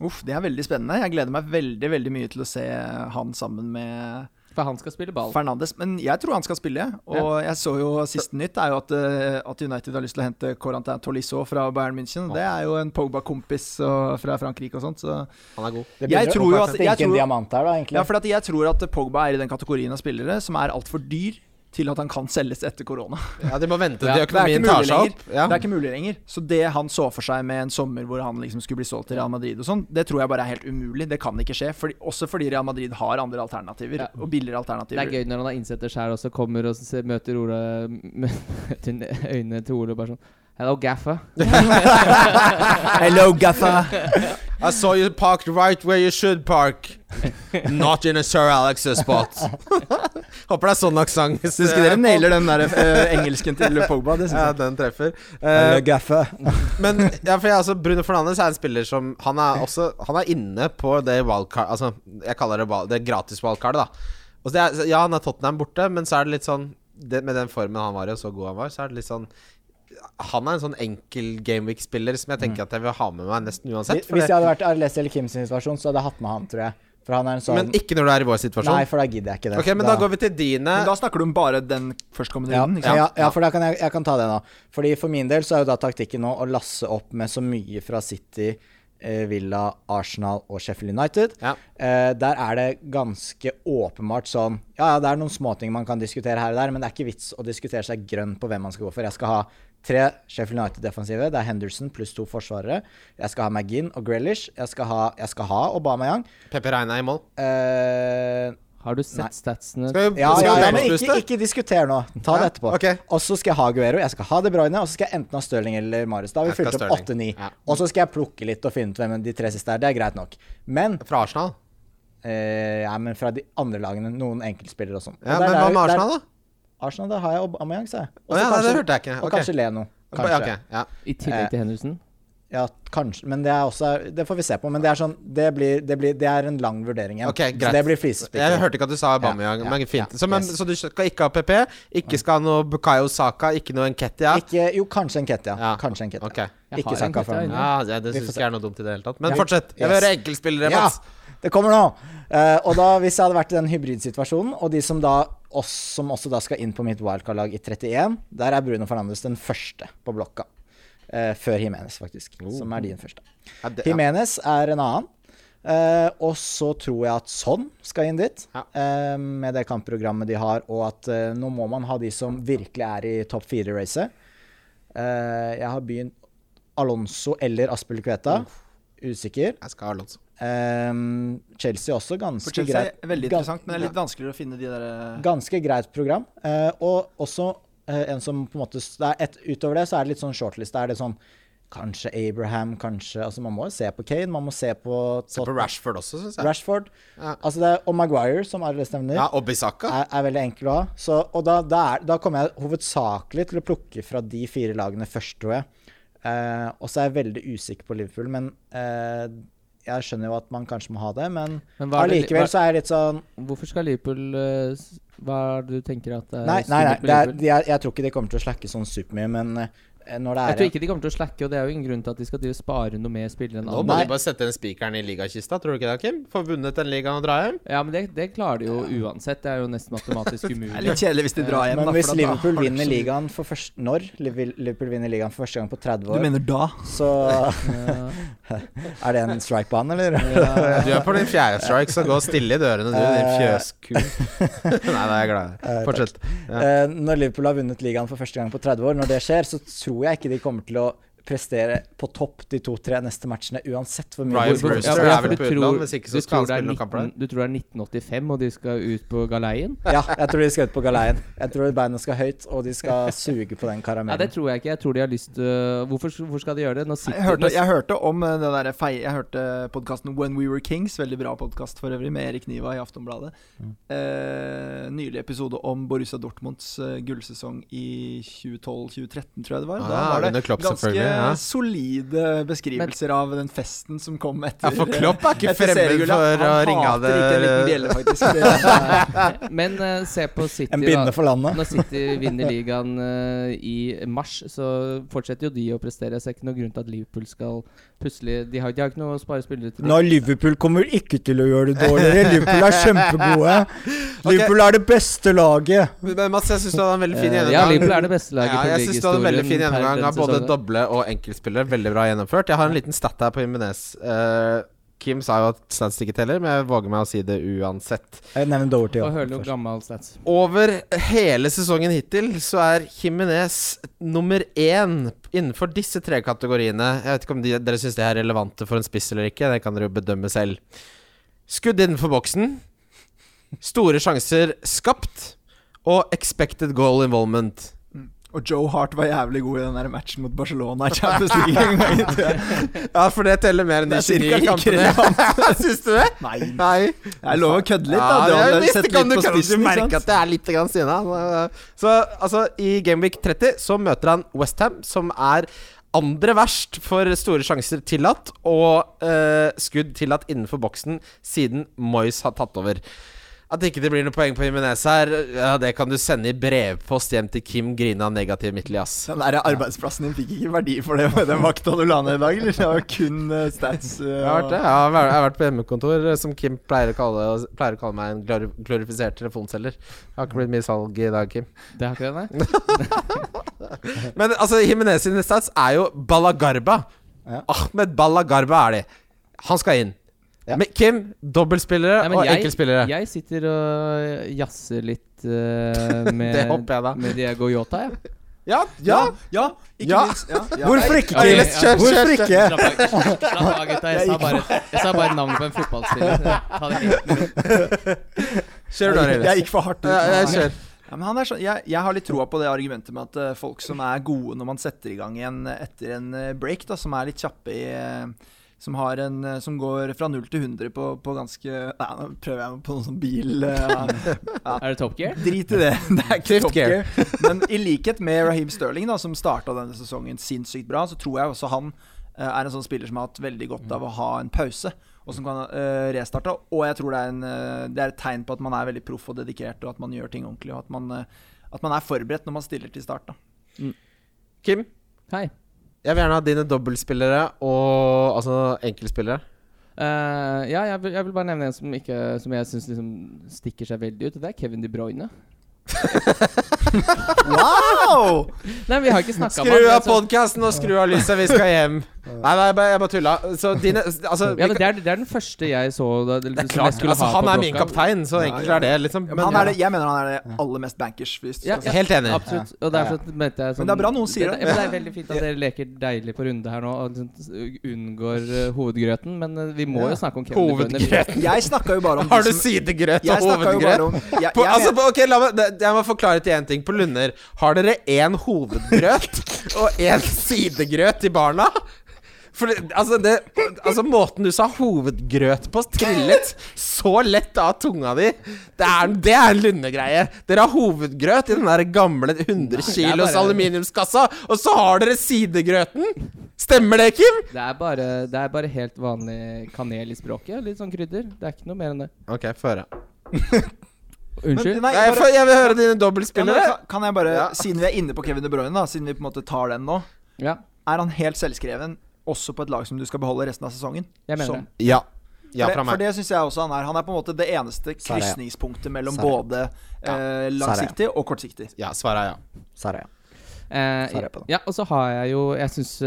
Uff, det er veldig spennende. Jeg gleder meg veldig veldig mye til å se han sammen med For han skal spille ball. Fernandes. Men jeg tror han skal spille, og jeg så jo siste nytt er jo at, eh, at United har lyst til å hente Corentin Tolisso fra Bayern München. Det er jo en Pogba-kompis og- fra Frankrike og sånt, så Han er god. Det jeg begynner tror jo å at- stinke jeg en tror- diamant her, da, egentlig. Ja, for at jeg tror at Pogba er i den kategorien av spillere som er altfor dyr til at han kan selges etter korona. Ja, de må vente Ja, til det er ikke økonomien mulig tar seg lenger. opp. Ja. Det er ikke mulig lenger. Så det han så for seg med en sommer hvor han liksom skulle bli solgt til Real Madrid og sånn, det tror jeg bare er helt umulig. Det kan ikke skje. Fordi, også fordi Real Madrid har andre alternativer, Ja. og billigere Det alternativer. er gøy når han har innsett det sjøl, og så kommer og så ser- møter Ola møter øynene til Ole og bare sånn Hello, Gaffa. Hello, Gaffa! I saw you parked right where you should park. Not in a Sir Alex' spot. Håper det er sånn aksent. hvis Syns ikke dere nailer den der eh, engelsken til Pogba? Det syns Ja, jeg. den treffer. Eller Eh, gaffe. men ja, for jeg, altså, Bruno Fernandes er en spiller som Han er også Han er inne på det wildcard Altså, jeg kaller det wild- det gratis wildcardet, da. Og så det er, ja, han er Tottenham borte, men så er det litt sånn det, Med den formen han var i, og så god han var, så er det litt sånn Han er en sånn enkel Gameweek-spiller som jeg tenker at jeg vil ha med meg nesten uansett. for Hvis jeg det- hadde vært Arles eller Kims situasjon, så hadde jeg hatt med han, tror jeg. For han er en sånn Men ikke når du er i vår situasjon. Nei, for da gidder jeg ikke det. Ok, men da går vi til dine. Men da snakker du om bare den førstkommende ja, runden, ikke ja, sant? ja, ja, for da kan jeg, jeg kan ta det nå. Fordi For min del så er jo da taktikken nå å lasse opp med så mye fra City, eh, Villa, Arsenal og Sheffield United. Ja. Eh, der er det ganske åpenbart sånn Ja, ja, det er noen småting man kan diskutere her og der, men det er ikke vits å diskutere seg grønn på hvem man skal gå for. Jeg skal ha tre Sheffield United-defensive. Det er Henderson pluss to forsvarere. Jeg skal ha McGinn og Grealish. Jeg skal ha, jeg skal ha Aubameyang. Pepe Reina i mål. Eh, Har du Nei. sett statsene? Skal vi, ja, skal ja, vi ja, men benchbooste? ikke, ikke diskuter nå. Ta Ja, det etterpå. ok. Og så skal jeg ha Guero, jeg skal ha De Bruyne, og så skal jeg enten ha Stirling eller Marius. Da har vi Jeg skal fulgt opp ha Sterling. 8-9. Ja. Og så skal jeg plukke litt og finne ut hvem de tre siste er. Det er greit nok. Men, Fra Arsenal? eh, ja, men fra de andre lagene, noen enkeltspillere og sånn. Og Ja, der- men hva med der- der- Arsenal, da? Arsenal, da har jeg Aubameyang, sa jeg. Å Og så ja, nei, det kanskje- hørte jeg ikke. Og Ok. kanskje Leno. Kanskje. Ja, ok, ja. I Eh. tillegg til Henderson? Ja, kanskje. Men det er også Det får vi se på. Men det er sånn Det, blir, det, blir, det er en lang vurdering igjen. Ok, Så greit. det blir flisespikkeri. Jeg hørte ikke at du sa Aubameyang, Ja, men ja, fint. ja, Så, men, yes. så du skal ikke ha PP, ikke skal ha noe Bukayo Saka, ikke noe Enketia? Ikke, jo, kanskje en Kettia. Ja. Kanskje en Kettia. Ok. Jeg har Ikke en Saka Ketia for meg. inne. Ja, det, det Vi syns får se. ikke er noe dumt i det hele tatt. Men Ja. fortsett. Jeg vil Yes. høre enkeltspillere, Mats. Ja, det kommer nå. Eh, og da, hvis jeg hadde vært i den hybridsituasjonen, og de som da oss, som også da skal inn på mitt wildcard-lag i 31, der er Bruno Fernandes den første på blokka. Eh, før Jimenez, faktisk. Som er din første. Ja, Oh. det- ja. Jimenez er en annen. Eh, og så tror jeg at Son skal inn dit, Ja. eh, med det kampprogrammet de har, og at eh, nå må man ha de som virkelig er i topp fire-racet. Eh, jeg har begynt Alonso eller Aspel Kveta. Usikker. Jeg skal ha Alonso. Ehm, Chelsea også For ganske Chelsea greit. er veldig gan- interessant, men det er litt vanskeligere å finne de der eh, Ganske greit program. Eh, og også eh, en som på en måte s- det er et, Utover det så er det litt sånn shortlist. Da Er det sånn Kanskje Abraham, kanskje altså Man må jo se på Kane, man må se på, Se på Rashford også, syns jeg. Rashford. Ja. Altså det er, og Maguire, som Arles nevner, Ja, Obisaka. er, er veldig enkel å ha. Så, og da, da, er, da kommer jeg hovedsakelig til å plukke fra de fire lagene først, tror jeg. Eh, og så er jeg veldig usikker på Liverpool, men eh, jeg skjønner jo at man kanskje må ha det, men Men hva er det- allikevel hva- Eh, så er jeg litt sånn Hvorfor skal Liverpool eh, s- Hva er det du tenker at Nei, er nei, skummelt nei med det er, Liverpool? de er, jeg tror ikke de kommer til å slakke sånn supermye, men eh, når det Jeg er tror ikke de kommer til å slacke, og det er jo ingen grunn til at de skal drive og spare noe mer spillere enn Nå andre. må Nei. de bare sette den spikeren i ligakista, tror du ikke det, Kim? Få vunnet den ligaen og dra hjem? Ja, men det, det klarer de jo uansett. Det er jo nesten matematisk Det er umulig. litt kjedelig hvis de drar hjem, Men da, hvis for da- da Liverpool har du ikke vinner så mye- ligaen for først, Når Liv- Liverpool vinner ligaen for første gang på 30 Du år, mener da? så Ja. er det en strike-bane, eller? Du er på din fjerde strike, så gå stille i dørene, du, din Eh. fjøsku. Nei, nei, jeg er glad i Eh, deg. Fortsett. Ja. Eh, når Liverpool har vunnet ligaen for første gang på 30 år, når det skjer, så tror jeg ikke de kommer til å prestere på topp de to-tre neste matchene, uansett hvor mye Brian Liverpool- Brewster Ja, for- er ja, jeg- vel for på du utlån, tror- hvis ikke så du skal han tror det er spille noen kamper der. 19 Du tror det er 1985, og de skal ut på galeien? Ja, jeg tror de skal ut på galeien. Jeg tror beina skal høyt, og de skal suge på den Nei, karamellen. det tror jeg ikke. Jeg tror de har lyst øh, hvorfor, hvorfor skal de gjøre det? Nå sitter, Jeg hørte, jeg hørte om eh, det der fei, Jeg hørte podkasten When We Were Kings, veldig bra podkast for øvrig, med Erik Niva i Aftonbladet. Mm. Eh, nylig episode om Borussia Dortmunds eh, gullsesong i 2012-2013, tror jeg det var. Ah, da var under det Klopp, ganske selvfølgelig, ja. solide beskrivelser av den festen som kom Ja, etter for Klopp er ikke etter fremmed seriegullet. for å ringe av det Han hater ikke en liten bjelle, faktisk. Det, nå- Men øh, se på City, En da. binne for landet. Når City vinner ligaen øh, i mars, så fortsetter jo de å prestere. Så det er ikke noen grunn til at Liverpool skal plutselig De har, de har ikke noe å spare spillere til. Nei, Liverpool kommer ikke til å gjøre det dårligere. Liverpool er kjempegode. Liverpool er det beste laget. Men Mats, jeg syns du hadde en veldig fin Eh, gjennomgang. ja, Liverpool er det beste laget Ja, på jeg synes du hadde en veldig ligahistorien fin per gjennomgang den av både sesongen. doble og enkeltspillere. Veldig bra gjennomført. Jeg har en liten stat her på Jimenez. Eh, Kim sa jo at stats ikke teller, men jeg våger meg å si det uansett. Jeg nevner Doverty Og også, hører noe først. gammel stats. Over hele sesongen hittil så er Jimenez nummer én innenfor disse tre kategoriene. Jeg vet ikke om de, dere syns det er relevante for en spiss eller ikke. Det kan dere jo bedømme selv. Skudd innenfor boksen. Store sjanser skapt. Og expected goal involvement. Og Joe Hart var jævlig god i den der matchen mot Barcelona. i Champions League en gang i tida. Ja, for det teller mer enn de Det er cirka 29 like kampene. Syns du det? Nei, Nei. jeg lover å kødde litt. Ja, da Du det er jo hadde litt- sett kan litt på du, kan spissen. du merke ikke at det sant? er litt grann stina. Så altså, i Gameweek 30 så møter han Westham, som er andre verst for store sjanser tillatt, og eh, skudd tillatt innenfor boksen siden Moyes har tatt over. At ikke det blir noe poeng på Jimenez her, ja, det kan du sende i brevpost hjem til Kim Grina negativ midtlig, ass. Den der arbeidsplassen din fikk ikke verdi for det med den vakta du la ned i dag, eller? Det var kun eh, stats. eh, Jeg har og- vært det. Jeg har vært- jeg har vært på hjemmekontor, eh, som Kim pleier å kalle, pleier å kalle meg en glori- glorifisert telefonselger. Det har ikke blitt mye salg i dag, Kim. Det har ikke det, nei? Men altså, Jimenez sine stats er jo Balagarba. Ja. Ahmed Balagarba er de. Han skal inn. Ja. Men Kim, dobbeltspillere Nei, men og jeg- enkeltspillere. Jeg sitter og øh, jazzer litt eh, med, Det håper jeg da. med Diego Yota, jeg. Ja, Ja, ja, ikke Ja. minst. Ja, ja. Hvorfor ikke, Ok, Kim? ja. kjør, Hvorfor kjør, ikke? Slapp av, slapp av, gutta. Jeg sa bare, jeg sa bare navnet på en fotballspiller. Ta det helt med ro. Kjør du, Jeg, jeg Arild. gikk for hardt ut. Ja, jeg Ja. kjører. Ja, men han er sånn, jeg, jeg har litt troa på det argumentet med at eh, folk som er gode når man setter i gang igjen etter en eh, break, da, som er litt kjappe i eh, som, har en, eh, som går fra 0 til 100 på, på ganske Nei, nå prøver jeg meg på noe sånn bil eh, Er det Top Gear? Drit i det. Det er ikke Fifth top gear. Men i likhet med Raheem Sterling, da, som starta denne sesongen sinnssykt bra, så tror jeg også han eh, er en sånn spiller som har hatt veldig godt av å ha en pause. Og som kan eh, restarte. Og jeg tror det er, en, eh, det er et tegn på at man er veldig proff og dedikert, og at man gjør ting ordentlig. Og at man, eh, at man er forberedt når man stiller til start. Da. Kim, Hei. jeg vil gjerne ha dine dobbeltspillere og altså enkeltspillere. Eh, ja, jeg vil, jeg vil bare nevne en som, ikke, som jeg syns liksom stikker seg veldig ut, og det er Kevin De Bruyne. Wow! Nei, vi har ikke snakka om Skru men altså- av så- podkasten og skru av lyset, vi skal hjem. Nei, nei, jeg bare- jeg bare tulla. Så dine Altså, ja, men det, er, det er den første jeg så da, det, liksom det er klart, altså, han er min kaptein, så Ja, enkelt ja. er det, liksom. Men han er det, jeg mener han er det aller mest bankers. Hvis du Ja, ja. skal Helt enig. Absolutt. Og derfor mente jeg sånn Men det er bra noen sier det. ja, men det er veldig fint at dere leker deilig på runde her nå og liksom unngår eh, hovedgrøten, men eh, vi må jo snakke om Kevin De Bruyne. Hovedgrøt. si- Jeg snakka jo bare om Har de du som- sidegrøt og Jeg snakka jo bare hovedgrøt? om jeg, På, jeg, altså, på, ok, la meg, det- Jeg må forklare til én ting. På Lunder, har dere én hovedgrøt og én sidegrøt til barna? For det, altså, det, altså Måten du sa hovedgrøt på, trillet så lett av tunga di. Det er, det er en Lunde-greie. Dere har hovedgrøt i den der gamle 100 kilos bare- aluminiumskassa, og så har dere sidegrøten! Stemmer det, Kim? Det er, bare, det er bare helt vanlig kanel i språket. Litt sånn krydder. Det er ikke noe mer enn det. Ok, få høre. Unnskyld. nei, Jeg, bare- får- jeg vil høre dine Ja, men dobbeltspillere. kan, kan jeg bare, Ja. Siden vi er inne på Kevin De Bruyne, da, siden vi på en måte tar den nå, ja, er han helt selvskreven også på et lag som du skal beholde resten av sesongen? jeg mener Som- det. Ja. Ja, For fra det, for meg. det syns jeg også han er. Han er på en måte det eneste Sara, ja. krysningspunktet mellom Sara. både Ja, eh, langsiktig og kortsiktig. Ja, svaret er ja. Sara, ja. Eh, Så er jeg på det. ja, og så har jeg jo Jeg syns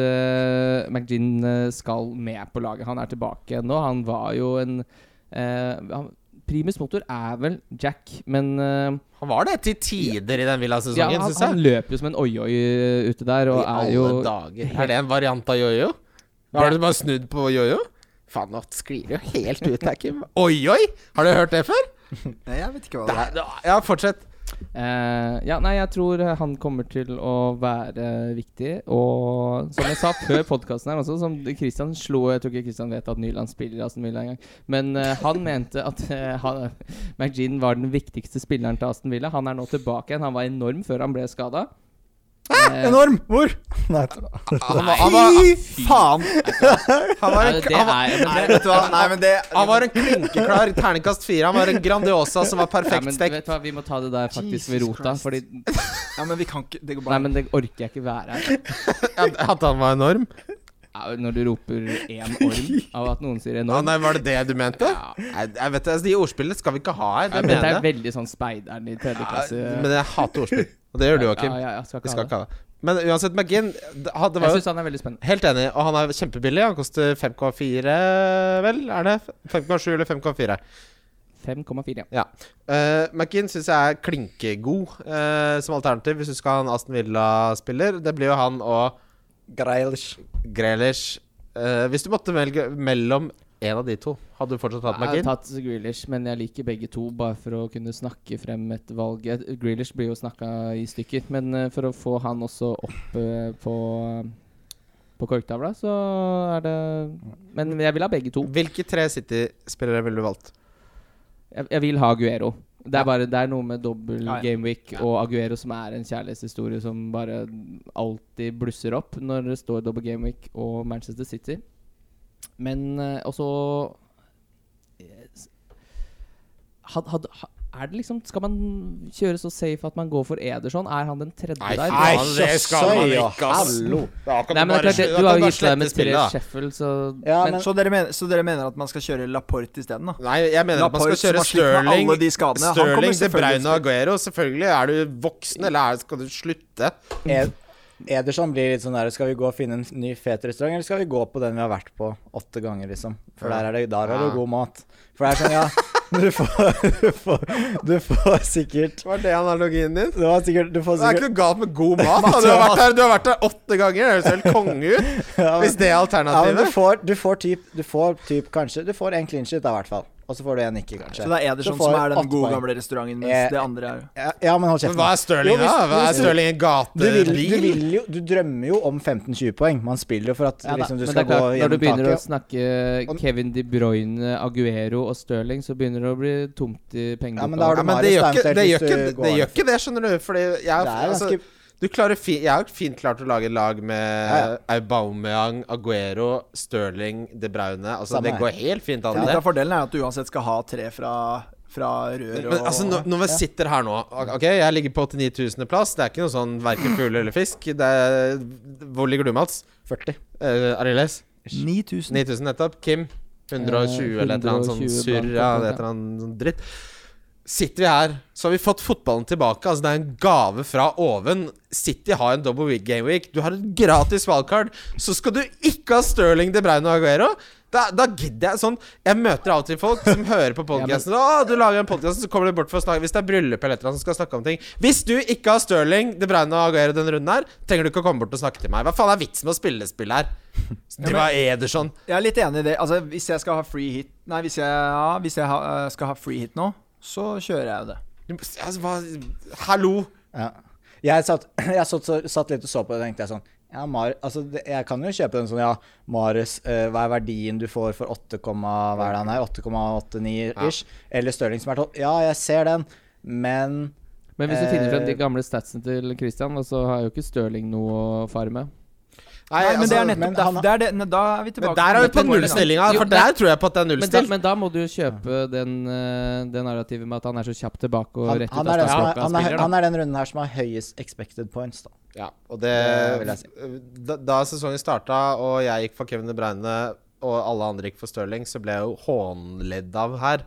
McGinn eh, skal med på laget. Han er tilbake nå. Han var jo en eh, han, Primus motor er vel Jack, men eh, Han var det til tider i den ja, Villa-sesongen, han, synes han jeg. løper jo som en oi-oi eh, ute der og I alle er jo dager. Er det en variant av jojo? Har du bare snudd på jojo? Faen, nå sklir det jo helt ut her, Kim. Oi, oi! Har du hørt det før? Nei, jeg vet ikke hva det Nei, ja, fortsett. Eh, ja, nei, jeg tror eh, han kommer til å være viktig. Og som jeg sa før podkasten her også, som Christian slo Jeg tror ikke Christian vet at Nyland spiller i Aston Villa engang. Men eh, han mente at eh, han- McGinn var den viktigste spilleren til Aston Villa. Han er nå tilbake igjen. Han var enorm før han ble skada. Eh, er. Enorm! Hvor? Nei, Han var, han var, Fy faen! han var, en, han var, Nei, vet du hva? Nei, men det han var en klinkeklar terningkast fire. Han var en Grandiosa som var perfekt stekt. vet du hva, vi må ta det der faktisk ved Jesus rota. Christ. Fordi, Ja, men vi kan ikke Det går nei, bare men det orker jeg ikke være her. At at han var enorm? Ja, Når du roper én orm av at noen sier Å enorm nei, var det det du mente? Ja. Nei, jeg vet, det, altså, de ordspillene skal vi ikke ha her. Det Ja, men Dette mener er jeg. veldig sånn speideren i tredje klasse. Ja, men jeg hater ordspill. Og det gjør du, Joakim. Ja, ja, jeg skal Vi ikke skal ha det. ikke ha det. Men uansett, McGinn det ha- det var Jeg jo syns han er veldig spennende. Helt enig. Og han er kjempebillig. Han koster 5,4, vel? Er det 5,7 eller 5,4? 5,4. ja. Ja. Uh, McGinn syns jeg er klinkegod eh, som alternativ hvis du skal ha en Aston Villa-spiller. Det blir jo han og Greilish. Grealish. Eh, hvis du måtte velge mellom en av de to, hadde du fortsatt hatt Jeg har McGinn? tatt Grealish, men jeg liker begge to, bare for å kunne snakke frem et valg. Jeg- Grealish blir jo snakka i stykker, men eh, for å få han også opp eh, på På korktavla, så er det Men jeg vil ha begge to. Hvilke tre City-spillere ville du valgt? Jeg, jeg vil ha Aguero. Det er, bare, det er noe med dobbel Ja, ja. gameweek og Aguero som er en kjærlighetshistorie som bare alltid blusser opp når det står dobbel gameweek og Manchester City. Men eh, også yes. had, had, ha- Er det liksom Skal man kjøre så safe at man går for Ederson? Er han den tredje der? faen. det skal man ikke, ass. Nei, Nei, men det er klart, det, du har jo gitt deg med spiller Sheffield, så Ja, men, men- Så dere, mener, så dere mener at man skal kjøre Laporte isteden, da? Nei, jeg mener at man Laporte, skal kjøre som har slitt med Stirling, alle de skadene. Han kommer Stirling De selvfølgelig Bruyne til å og Aguero. Selvfølgelig. Er du voksen, eller er, skal du slutte? Ed Ederson blir litt sånn der Skal vi gå og finne en ny fet restaurant, eller skal vi gå på den vi har vært på åtte ganger, liksom? For der er det, der er det Ja. god mat. For det er sånn, ja Du får, du får, du får sikkert Var det analogien din? Du har sikkert Du får Det er sikkert ikke noe galt med god mat. Da. Du, har vært der, du har vært der åtte ganger. Det høres helt konge ut. Ja, men- Hvis det er ja, men du alternativet. får, du får typ Du får typ kanskje Du får en clean shit, da, i hvert fall. Og så får du en ikke, kanskje. Så det er Ederson Så får som er den åtte gode poeng. gamle restauranten, mens Eh, det andre er Ja, ja, men Men hold kjeft. hva er Jo, Stirling, da? hvis- Hva hvis er du- Stirling en Du vil, du gatebil? vil jo Du drømmer jo om 15-20 poeng. Man spiller jo for at Ja da, liksom, du skal men det er gå klart, når du gjennom begynner taket. å snakke Og- Kevin De Bruyne, Aguero og Sterling, så begynner det å bli tomt i Ja, men pengeboka. da har Ja, du men det Marius gjør ikke eventuelt det, gjør hvis ikke, du det, går gjør ikke det, skjønner du. Fordi jeg, Det er altså, ganske du klarer fi, jeg har fint klart å lage lag Ja, med Aubameyang, Aguero, Stirling, De Braune. Altså, Samme det her. går helt fint an, Litt det. av fordelen er at du uansett skal ha tre fra, fra rør og Men altså, når, når vi sitter her nå Ok, jeg ligger på 89 000. plass. Det er ikke noe sånn verken fugl eller fisk. Det er, hvor ligger du, Mats? 40. Eh, Ariles? 9000. 9000 nettopp. Kim? 120 Eh, eller et eller annet sånn 120 surr. blankt, Ja, ja. det er et eller annet sånn dritt. Sitter vi her, så har vi fått fotballen tilbake. Altså Det er en gave fra oven. City har en double week game week. Du har et gratis wildcard. Så skal du ikke ha Sterling, De Bruyne og Aguero. Da, da gidder jeg sånn Jeg møter av og til folk som hører på podkasten. Å, du lager en podcast, så kommer de bort for å snakke Hvis det er bryllup eller et eller annet, så skal jeg snakke om ting. Hvis du ikke har Sterling, De Bruyne og Aguero denne runden her, trenger du ikke å komme bort og snakke til meg. Hva faen er vitsen med å spille det spillet her? Det var Ederson. Jeg er litt enig i det. Altså, hvis jeg skal ha free hit Nei, hvis jeg, ja, hvis jeg ha, eh, skal ha free hit nå, så kjører jeg jo det. Du må- Altså, hva Hallo! Ja. Jeg satt, jeg satt, så, satt litt og så på det og tenkte jeg sånn ja, Mar, altså, det, Jeg kan jo kjøpe den sånn, ja, Marius, eh, hva er verdien du får for 8, hva er det han er, 8,89-ish? Eller Stirling som er 12. Ja, jeg ser den, men Men hvis du finner frem de Eh, gamle statsene til Christian, så har jo ikke Stirling noe å fare med. Nei, Nei, men det er altså, men nettopp derfor. han- det er det, ne, da er vi tilbake Men der er vi på til- nullstillinga, Jo, for nei. der tror jeg på at det er Men da, nullstill. men da må du jo kjøpe den, eh, det narrativet med at han er så kjapt tilbake og han, rett ut han, av er den som er, startblokka han, er, spiller. da. han er den runden her som har høyest expected points, da. Ja, og det, eh, Det vil jeg da, da sesongen starta, og jeg gikk for Kevin De Bruyne, og alle andre gikk for Stirling, så ble jeg jo hånledd av her.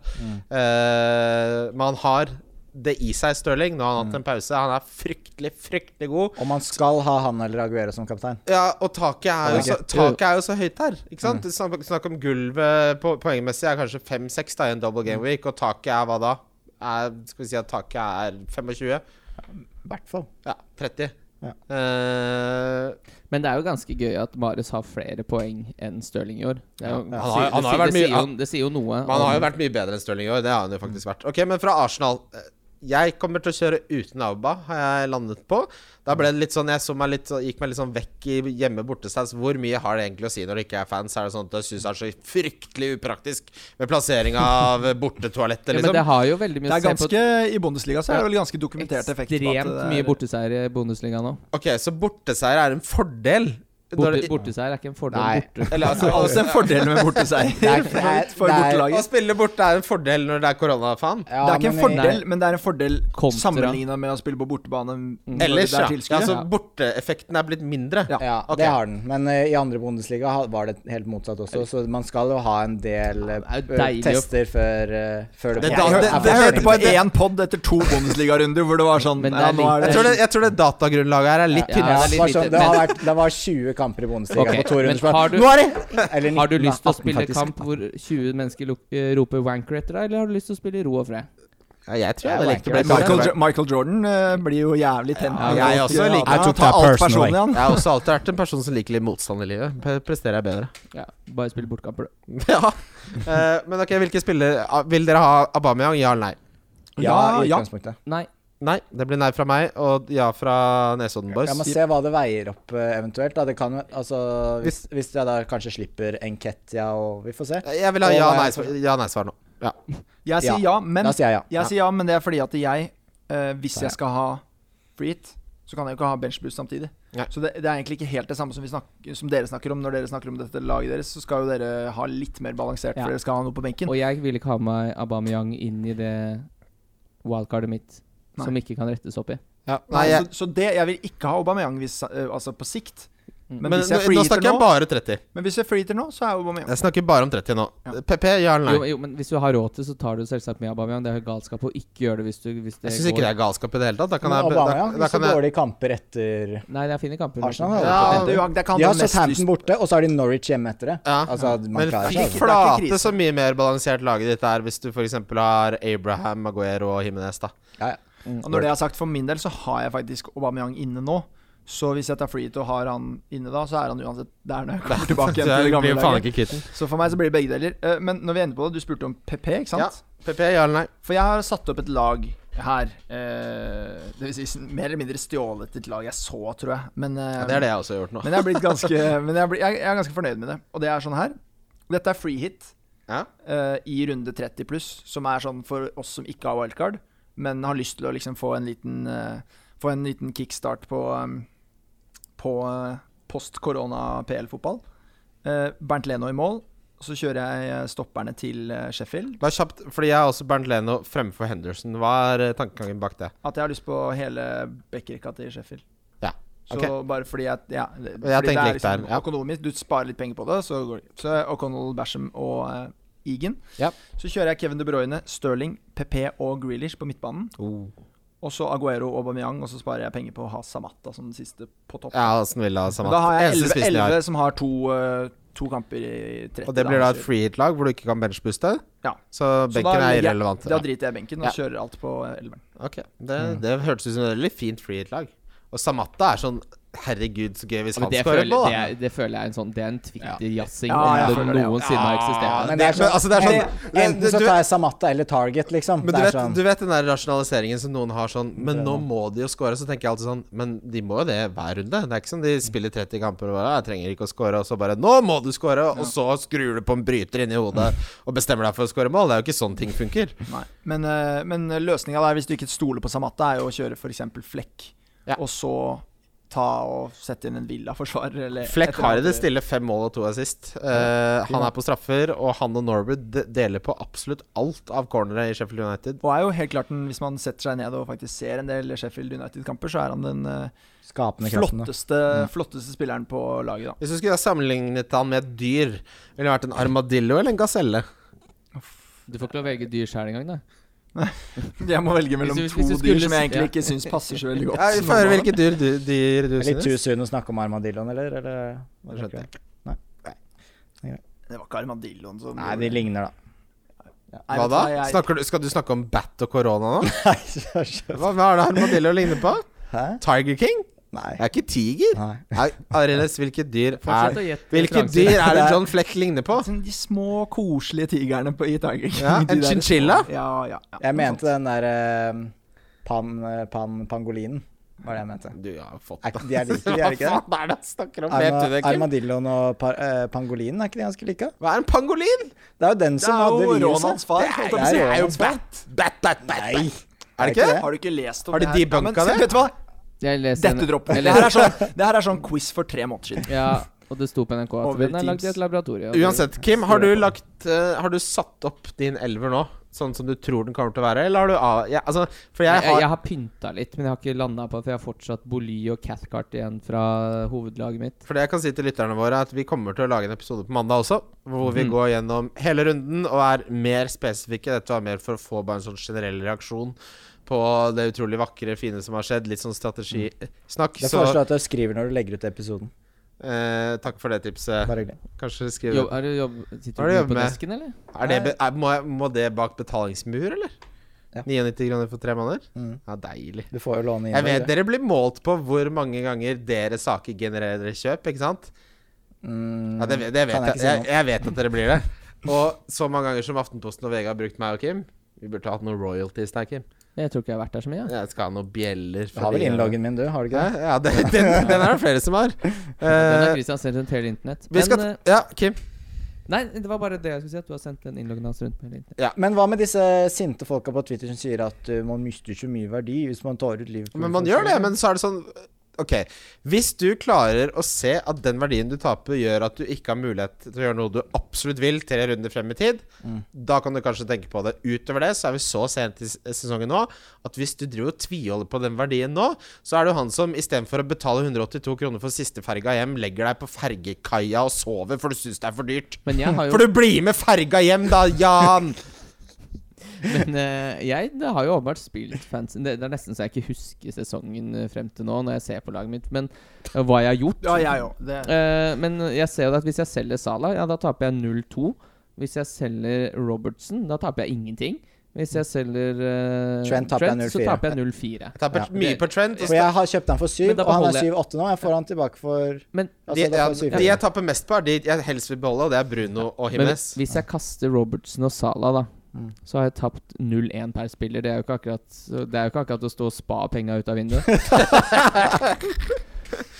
Eh, men han har det i seg, Stirling. Nå har han hatt en pause. Han er fryktelig, fryktelig god. Og man skal ha han eller Aguero som kaptein. Ja, og taket er, Mm. jo Ok. så, taket er jo så høyt her. Ikke sant? Snakk, snakk om gulvet på, poengmessig er kanskje 5-6 da i en double game week, og taket er hva da? Er, skal vi si at taket er 25? I hvert fall. Ja, 30. Ja. Eh, Men det er jo ganske gøy at Marius har flere poeng enn Stirling i år. Det, er jo, han Ja, har- det han har sier- vært det mye- sier jo, det sier jo noe. men han har om- jo vært mye bedre enn Stirling i år. Det har han jo faktisk vært. Ok, Men fra Arsenal eh, Jeg kommer til å kjøre uten Auba, har jeg landet på. Da ble det litt sånn Jeg så meg litt, så- gikk meg litt sånn vekk i hjemme bortestats. Hvor mye har det egentlig å si når det ikke er fans? Er det sånn at du syns det er så fryktelig upraktisk med plassering av bortetoalettet, ja, men det liksom? har jo veldig mye Det å er se på ganske, I Bundesliga så er det vel ganske dokumentert effekt. på at eh, Ekstremt det er- mye borteseier i Bundesliga nå. Ok, så borteseier er en fordel når Borte, det- borteseier er ikke en fordel. Nei. Borte. Eller, Det altså, er også en fordel med borteseier Det er- det er- for det er- Å bortelaget. spille borte er en fordel når det er korona, faen. Ja, Det er ikke en men vi- fordel, men det er en fordel Kontra. sammenligna med å spille på bortebane. når Mm. Ellers, det ja. er tilskuere. Altså, borteeffekten er blitt mindre. Ja. Ja, Ok. det har den. Men eh, i andre Bundesliga ha- var det helt motsatt også, så man skal jo ha en del eh, Ja, det er jo deilig å- tester før, eh, før det Det- Jeg, hør, det- jeg, det- hørte på én pod etter to Bundesliga-runder hvor det var sånn Men det ja, er nå litt- er det Jeg tror det, jeg tror det datagrunnlaget her er litt Ja, Ja, tynnere. det er det, litt var sånn, lite, det, har men- vært, det var 20 kamper i Bundesliga Ok, på to men runder. så bare, har du- Nå er det! Eller Har du 19, lyst til å 18 spille faktisk. kamp hvor 20 mennesker luk- eh, roper 'wanker' etter deg, eller har du lyst til å spille i ro og fred? Ja, jeg tror jeg Jeg hadde likt å liker bli det. Michael, borte. Jo- Michael Jordan eh, blir jo jævlig tent. Ja, jeg også liker Han det. tar alt personlig, Personally. han. Jeg har også alltid vært en person som liker litt motstand i livet. Pre- Presterer jeg bedre. Ja, bare spille bortkamper, du. Ja. Eh, men ok, hvilke spillere ah, Vil dere ha Aubameyang? Ja eller nei? Ja, Ja, i ja. utgangspunktet. Nei. Nei. Det blir nei fra meg, og ja fra Nesodden Boys. Jeg må se hva det veier opp eh, eventuelt. Da. Det kan, jo- altså, hvis, hvis jeg da kanskje slipper Enketia og Vi får se. Jeg vil ha Og hva er- ja-nei-svar nå. Ja. Jeg sier ja, men Da sier jeg ja. Jeg sier ja, men det er fordi at jeg, eh, hvis Da, ja. jeg skal ha free hit, så kan jeg jo ikke ha benchboost samtidig. Nei. Så det, det er egentlig ikke helt det samme som, vi snakker, som dere snakker om. Når dere snakker om dette laget deres, så skal jo dere ha litt mer balansert, Ja. for dere skal ha noe på benken. Og jeg ville ikke ha med Aubameyang inn i det wildcardet mitt, Nei. som ikke kan rettes opp i. Ja. Nei, Nei, jeg, så, så det, jeg vil ikke ha Aubameyang hvis, eh, altså på sikt. Mm. Men, men hvis nå, jeg nå freeheater snakker jeg nå, bare 30. men hvis jeg freeheater nå, så er Aubameyang Jeg snakker bare om 30 nå. Ja. PP, ja eller Jo, nei? jo, men hvis du har råd til, så tar du selvsagt med Aubameyang. Det er jo galskap å ikke gjøre det hvis, du, hvis det Jeg syns ikke det er galskap i det hele tatt. Da kan Men jeg, da, Aubameyang da hvis kan det jeg dårlige kamper etter Nei, det er fine kamper. Arsenal har Ja, Det er jo- det er ikke han De har som mest Southampton lyst- borte, og så har de Norwich hjemme etter det. ja. Altså, man Men klarer fy seg. altså. Det er ikke flate krise. så mye mer balansert laget ditt er hvis du f.eks. har Abraham, Maguero og Jimenez, da. Ja, ja. Og når det er sagt, for min del så har jeg faktisk Aubameyang inne nå. Så hvis jeg tar freeheat og har han inne da, så er han uansett der når jeg kommer tilbake Så igjen til jeg det gamle blir faen laget. ikke kvitt den. Så for meg så blir det begge deler. Eh, Men når vi ender på det, du spurte om PP, ikke sant? Ja. PP, ja eller nei? For jeg har satt opp et lag her. Eh, det vil si s- mer eller mindre stjålet et lag jeg så, tror jeg. Men, eh, Ja, det er det jeg også har gjort nå. men jeg er blitt ganske Men jeg er, blitt, jeg, jeg er ganske fornøyd med det. Og det er sånn her. Dette er free hit Ja. eh, i runde 30 pluss, som er sånn for oss som ikke har wildcard, men har lyst til å liksom få en liten eh, Få en liten kickstart på um, På eh, post korona PL-fotball. Eh, Bernt Leno i mål. Så kjører jeg eh, stopperne til eh, Sheffield. Bare kjapt, fordi jeg har også Bernt Leno fremfor Henderson. Hva er eh, tankegangen bak det? At jeg har lyst på hele bekkerekka til Sheffield. Ja, Så ok. bare fordi jeg ja, det- Og jeg fordi tenker det er likt der, liksom ja. Økonomisk, du sparer litt penger på det, så går det. Så O'Connell, Basham og eh, Egan. Ja. Så kjører jeg Kevin De Bruyne, Sterling, PP og Grealish på midtbanen. Og så Aguero og Aubameyang, og så sparer jeg penger på å ha Samata som den siste på topp. Ja, altså, Aston Villa Men samme. da har jeg Eneste spissen jeg har. 11 som har to, eh, to kamper i 30 Og det blir da et så- freehit-lag hvor du ikke kan benchbooste. Ja. Så Så da benken er legger jeg- irrelevant. Da driter jeg i benken og Ja. kjører alt på eh, elveren. Ok, det, det hørtes ut som et veldig fint freehit-lag. Og Samatta er sånn Herregud, så gøy hvis Ja, men han det, scorer føler, på, det, da. er, det føler jeg er en sånn Det er en Twitter-jazzing Ja, jeg om det føler det, ja. noensinne har eksistert. Men det er men sånn, altså, det er sånn- enten, enten så du- tar jeg Samatta eller Target, liksom. Men det du er vet, sånn, du vet den der rasjonaliseringen som noen har sånn Men nå må de jo score. Så tenker jeg alltid sånn Men de må jo det hver runde. Det er ikke sånn de spiller 30 kamper og bare Jeg trenger ikke å score, og så bare Nå må du score! Og så skrur du på en bryter inni hodet og bestemmer deg for å score mål. Det er jo ikke sånn ting funker. Nei. Men, eh, men løsninga der, hvis du ikke stoler på Samatta, er jo å kjøre f.eks. Flekk, Ja. og så ta og sette inn en Villa-forsvarer. eller et Fleck eller har i annet. det stille fem mål og to assist. Eh, han er på straffer, og han og Norwood de- deler på absolutt alt av cornere i Sheffield United. Og er jo helt klart den, Hvis man setter seg ned og faktisk ser en del Sheffield United-kamper, så er han den eh, skapende kraften. da. flotteste, flotteste spilleren på laget, da. Hvis du skulle ha sammenlignet han med et dyr, ville det vært en armadillo eller en gaselle? Du får ikke lov å velge dyr sjøl engang, da. Jeg må velge mellom Hvis du- to hvis du dyr skulle som si- jeg egentlig ja. ikke syns passer så veldig godt. Ja, Vi får høre hvilke dyr du, dyr du Det er Litt synes. too soon å snakke om armadilloen, eller? eller hva Det skjønte tenker jeg. du? Det var ikke armadilloen som Nei, de ligner, da. sånn- Nei, Hva vet da? du Jeg, Snakker du, skal du snakke om bat og korona nå? Nei, så skjønt. Hva, hva er det armadillo ligner på? Hæ? Tiger King? Nei. Det er ikke tiger. Nei. Nei, Arild hvilke dyr Fortsett er å gjette Hvilke referanser. dyr er det John Fleck ligner på? Sånn De små, koselige tigrene på, i Tiger King. Ja, de en der små- chinchilla? Ja, ja, ja. Jeg mente den derre pan, pan, pangolinen, var det jeg mente. Du har fått Er, ikke- de er like, de er Hva ikke det? faen er det han snakker om? Vet du Arma, det, Kim? armadilloen og par, eh, pangolinen, er ikke de ganske like? Hva er en pangolin? Det er jo den som er jo hadde Ronalds viruset. far. Det er, Det det er er jo Ronalds far. bat, bat, bat, bat. Nei. Er det ikke det? Har du ikke lest om Har de det her? debunka men, det? Vet du hva? Jeg leser Dette dropper vi. jeg Det her leser- er sånn, det her er sånn quiz for tre måneder siden. Ja, og det sto på NRK at Over den er lagd i et Teams. laboratorium. Uansett, Kim, har du, Stor- lagt, eh, har du satt opp din elver nå? Sånn som du tror den kommer til å være? Eller har du av... Ja, altså, for jeg Jeg, jeg, har har pynta litt, men jeg har ikke landa på at jeg har fortsatt Boly og Cathcart igjen fra hovedlaget mitt. For det jeg kan si til lytterne våre, er at vi kommer til å lage en episode på mandag også. Hvor vi Mhm. Mm. går gjennom hele runden og er mer spesifikke. Dette var mer for å få bare en sånn generell reaksjon på det utrolig vakre, fine som har skjedd. Litt sånn strategisnakk. Det Så foreslår jeg at du skriver når du legger ut episoden. eh, takk for det tipset. Bare hyggelig. Kanskje skriv Jobb, er du jobb, Hva sitter er det du du mye på jobber med? desken, eller? er det, be- er, må, jeg, må det bak betalingsmur, eller? eh, Ja. 99 kroner for tre måneder? Mm. Ja, deilig. Du får jo låne inn. Jeg vet det. Dere blir målt på hvor mange ganger deres saker genererer kjøp, ikke sant? Mm, Ja, det, det vet kan jeg, ikke si noe jeg, om. jeg vet at dere blir det. Og så mange ganger som Aftenposten og VG har brukt meg og Kim. Vi burde hatt noen royalties der, Kim. Jeg tror ikke jeg har vært der så mye. jeg. Jeg skal ha noen bjeller. Du har vel fordi- innloggen min, du? Har du Hæ? ikke det? Ja, det, den, den er det flere som har. Den har Eh, Christian sendt rundt hele internett. vi Men skal eh, t- Ja, Kim. Nei, det var bare det jeg skulle si, at du har sendt den innloggen hans rundt på hele internett. Men hva med disse sinte folka på Twitter som sier at uh, man mister så mye verdi hvis man tar ut Liverpool? Men man gjør det. Men så er det sånn OK. Hvis du klarer å se at den verdien du taper, gjør at du ikke har mulighet til å gjøre noe du absolutt vil tre runder frem i tid, Mm. da kan du kanskje tenke på det. Utover det så er vi så sent i s- sesongen nå at hvis du driver og tviholder på den verdien nå, så er det jo han som istedenfor å betale 182 kroner for siste ferga hjem, legger deg på fergekaia og sover for du syns det er for dyrt. Men jeg har jo For du blir med ferga hjem, da, Jan! Men eh, jeg det har jo åpenbart spilt fans det, det er nesten så jeg ikke husker sesongen eh, frem til nå, når jeg ser på laget mitt, men eh, hva jeg har gjort. Ja, jeg òg. Eh, men jeg ser jo at hvis jeg selger Salah, ja, da taper jeg 0-2. Hvis jeg selger Robertson, da taper jeg ingenting. Hvis jeg selger eh, Trent taper jeg 0-4. så taper jeg 0-4. Jeg taper Ja. mye på Trent. og For jeg har kjøpt den for syv, Men da og han er beholder jeg- syv-åtte nå. Jeg får han tilbake for altså, Men, De, da får ja, jeg syv- de jeg taper mest på, er de jeg helst vil beholde, og det er Bruno og men Himnes. hvis jeg kaster Robertson og Salah, da, Mm. så har jeg tapt 0-1 per spiller. Det er jo ikke akkurat, det er jo ikke akkurat å stå og spa penga ut av vinduet.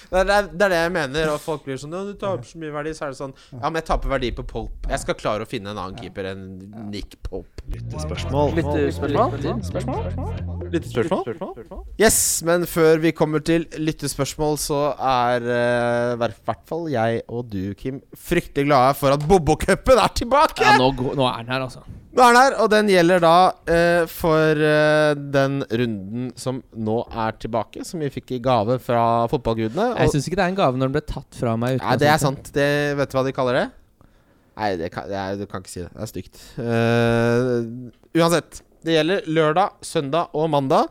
Det er, det er det jeg mener. Og folk blir sånn Ja, du taper så mye verdi. Så er det sånn Ja, men jeg taper verdi på Polp. Jeg skal klare å finne en annen keeper enn Nick Polp. Yes, men før vi kommer til lyttespørsmål, så er eh, hver- hvert fall jeg og du, Kim, fryktelig glade for at Bobokupen er tilbake! Ja, nå, går- nå er den her, altså. Nå er den her, og den gjelder da eh, for eh, den runden som nå er tilbake, som vi fikk i gave fra fotballgudene. Jeg syns ikke det er en gave når den ble tatt fra meg. uten Nei, å det er sette- sant. Det, vet du hva de kaller det? Nei, det kan, det er, du kan ikke si det. Det er stygt. Eh, uansett. Det gjelder lørdag, søndag og mandag.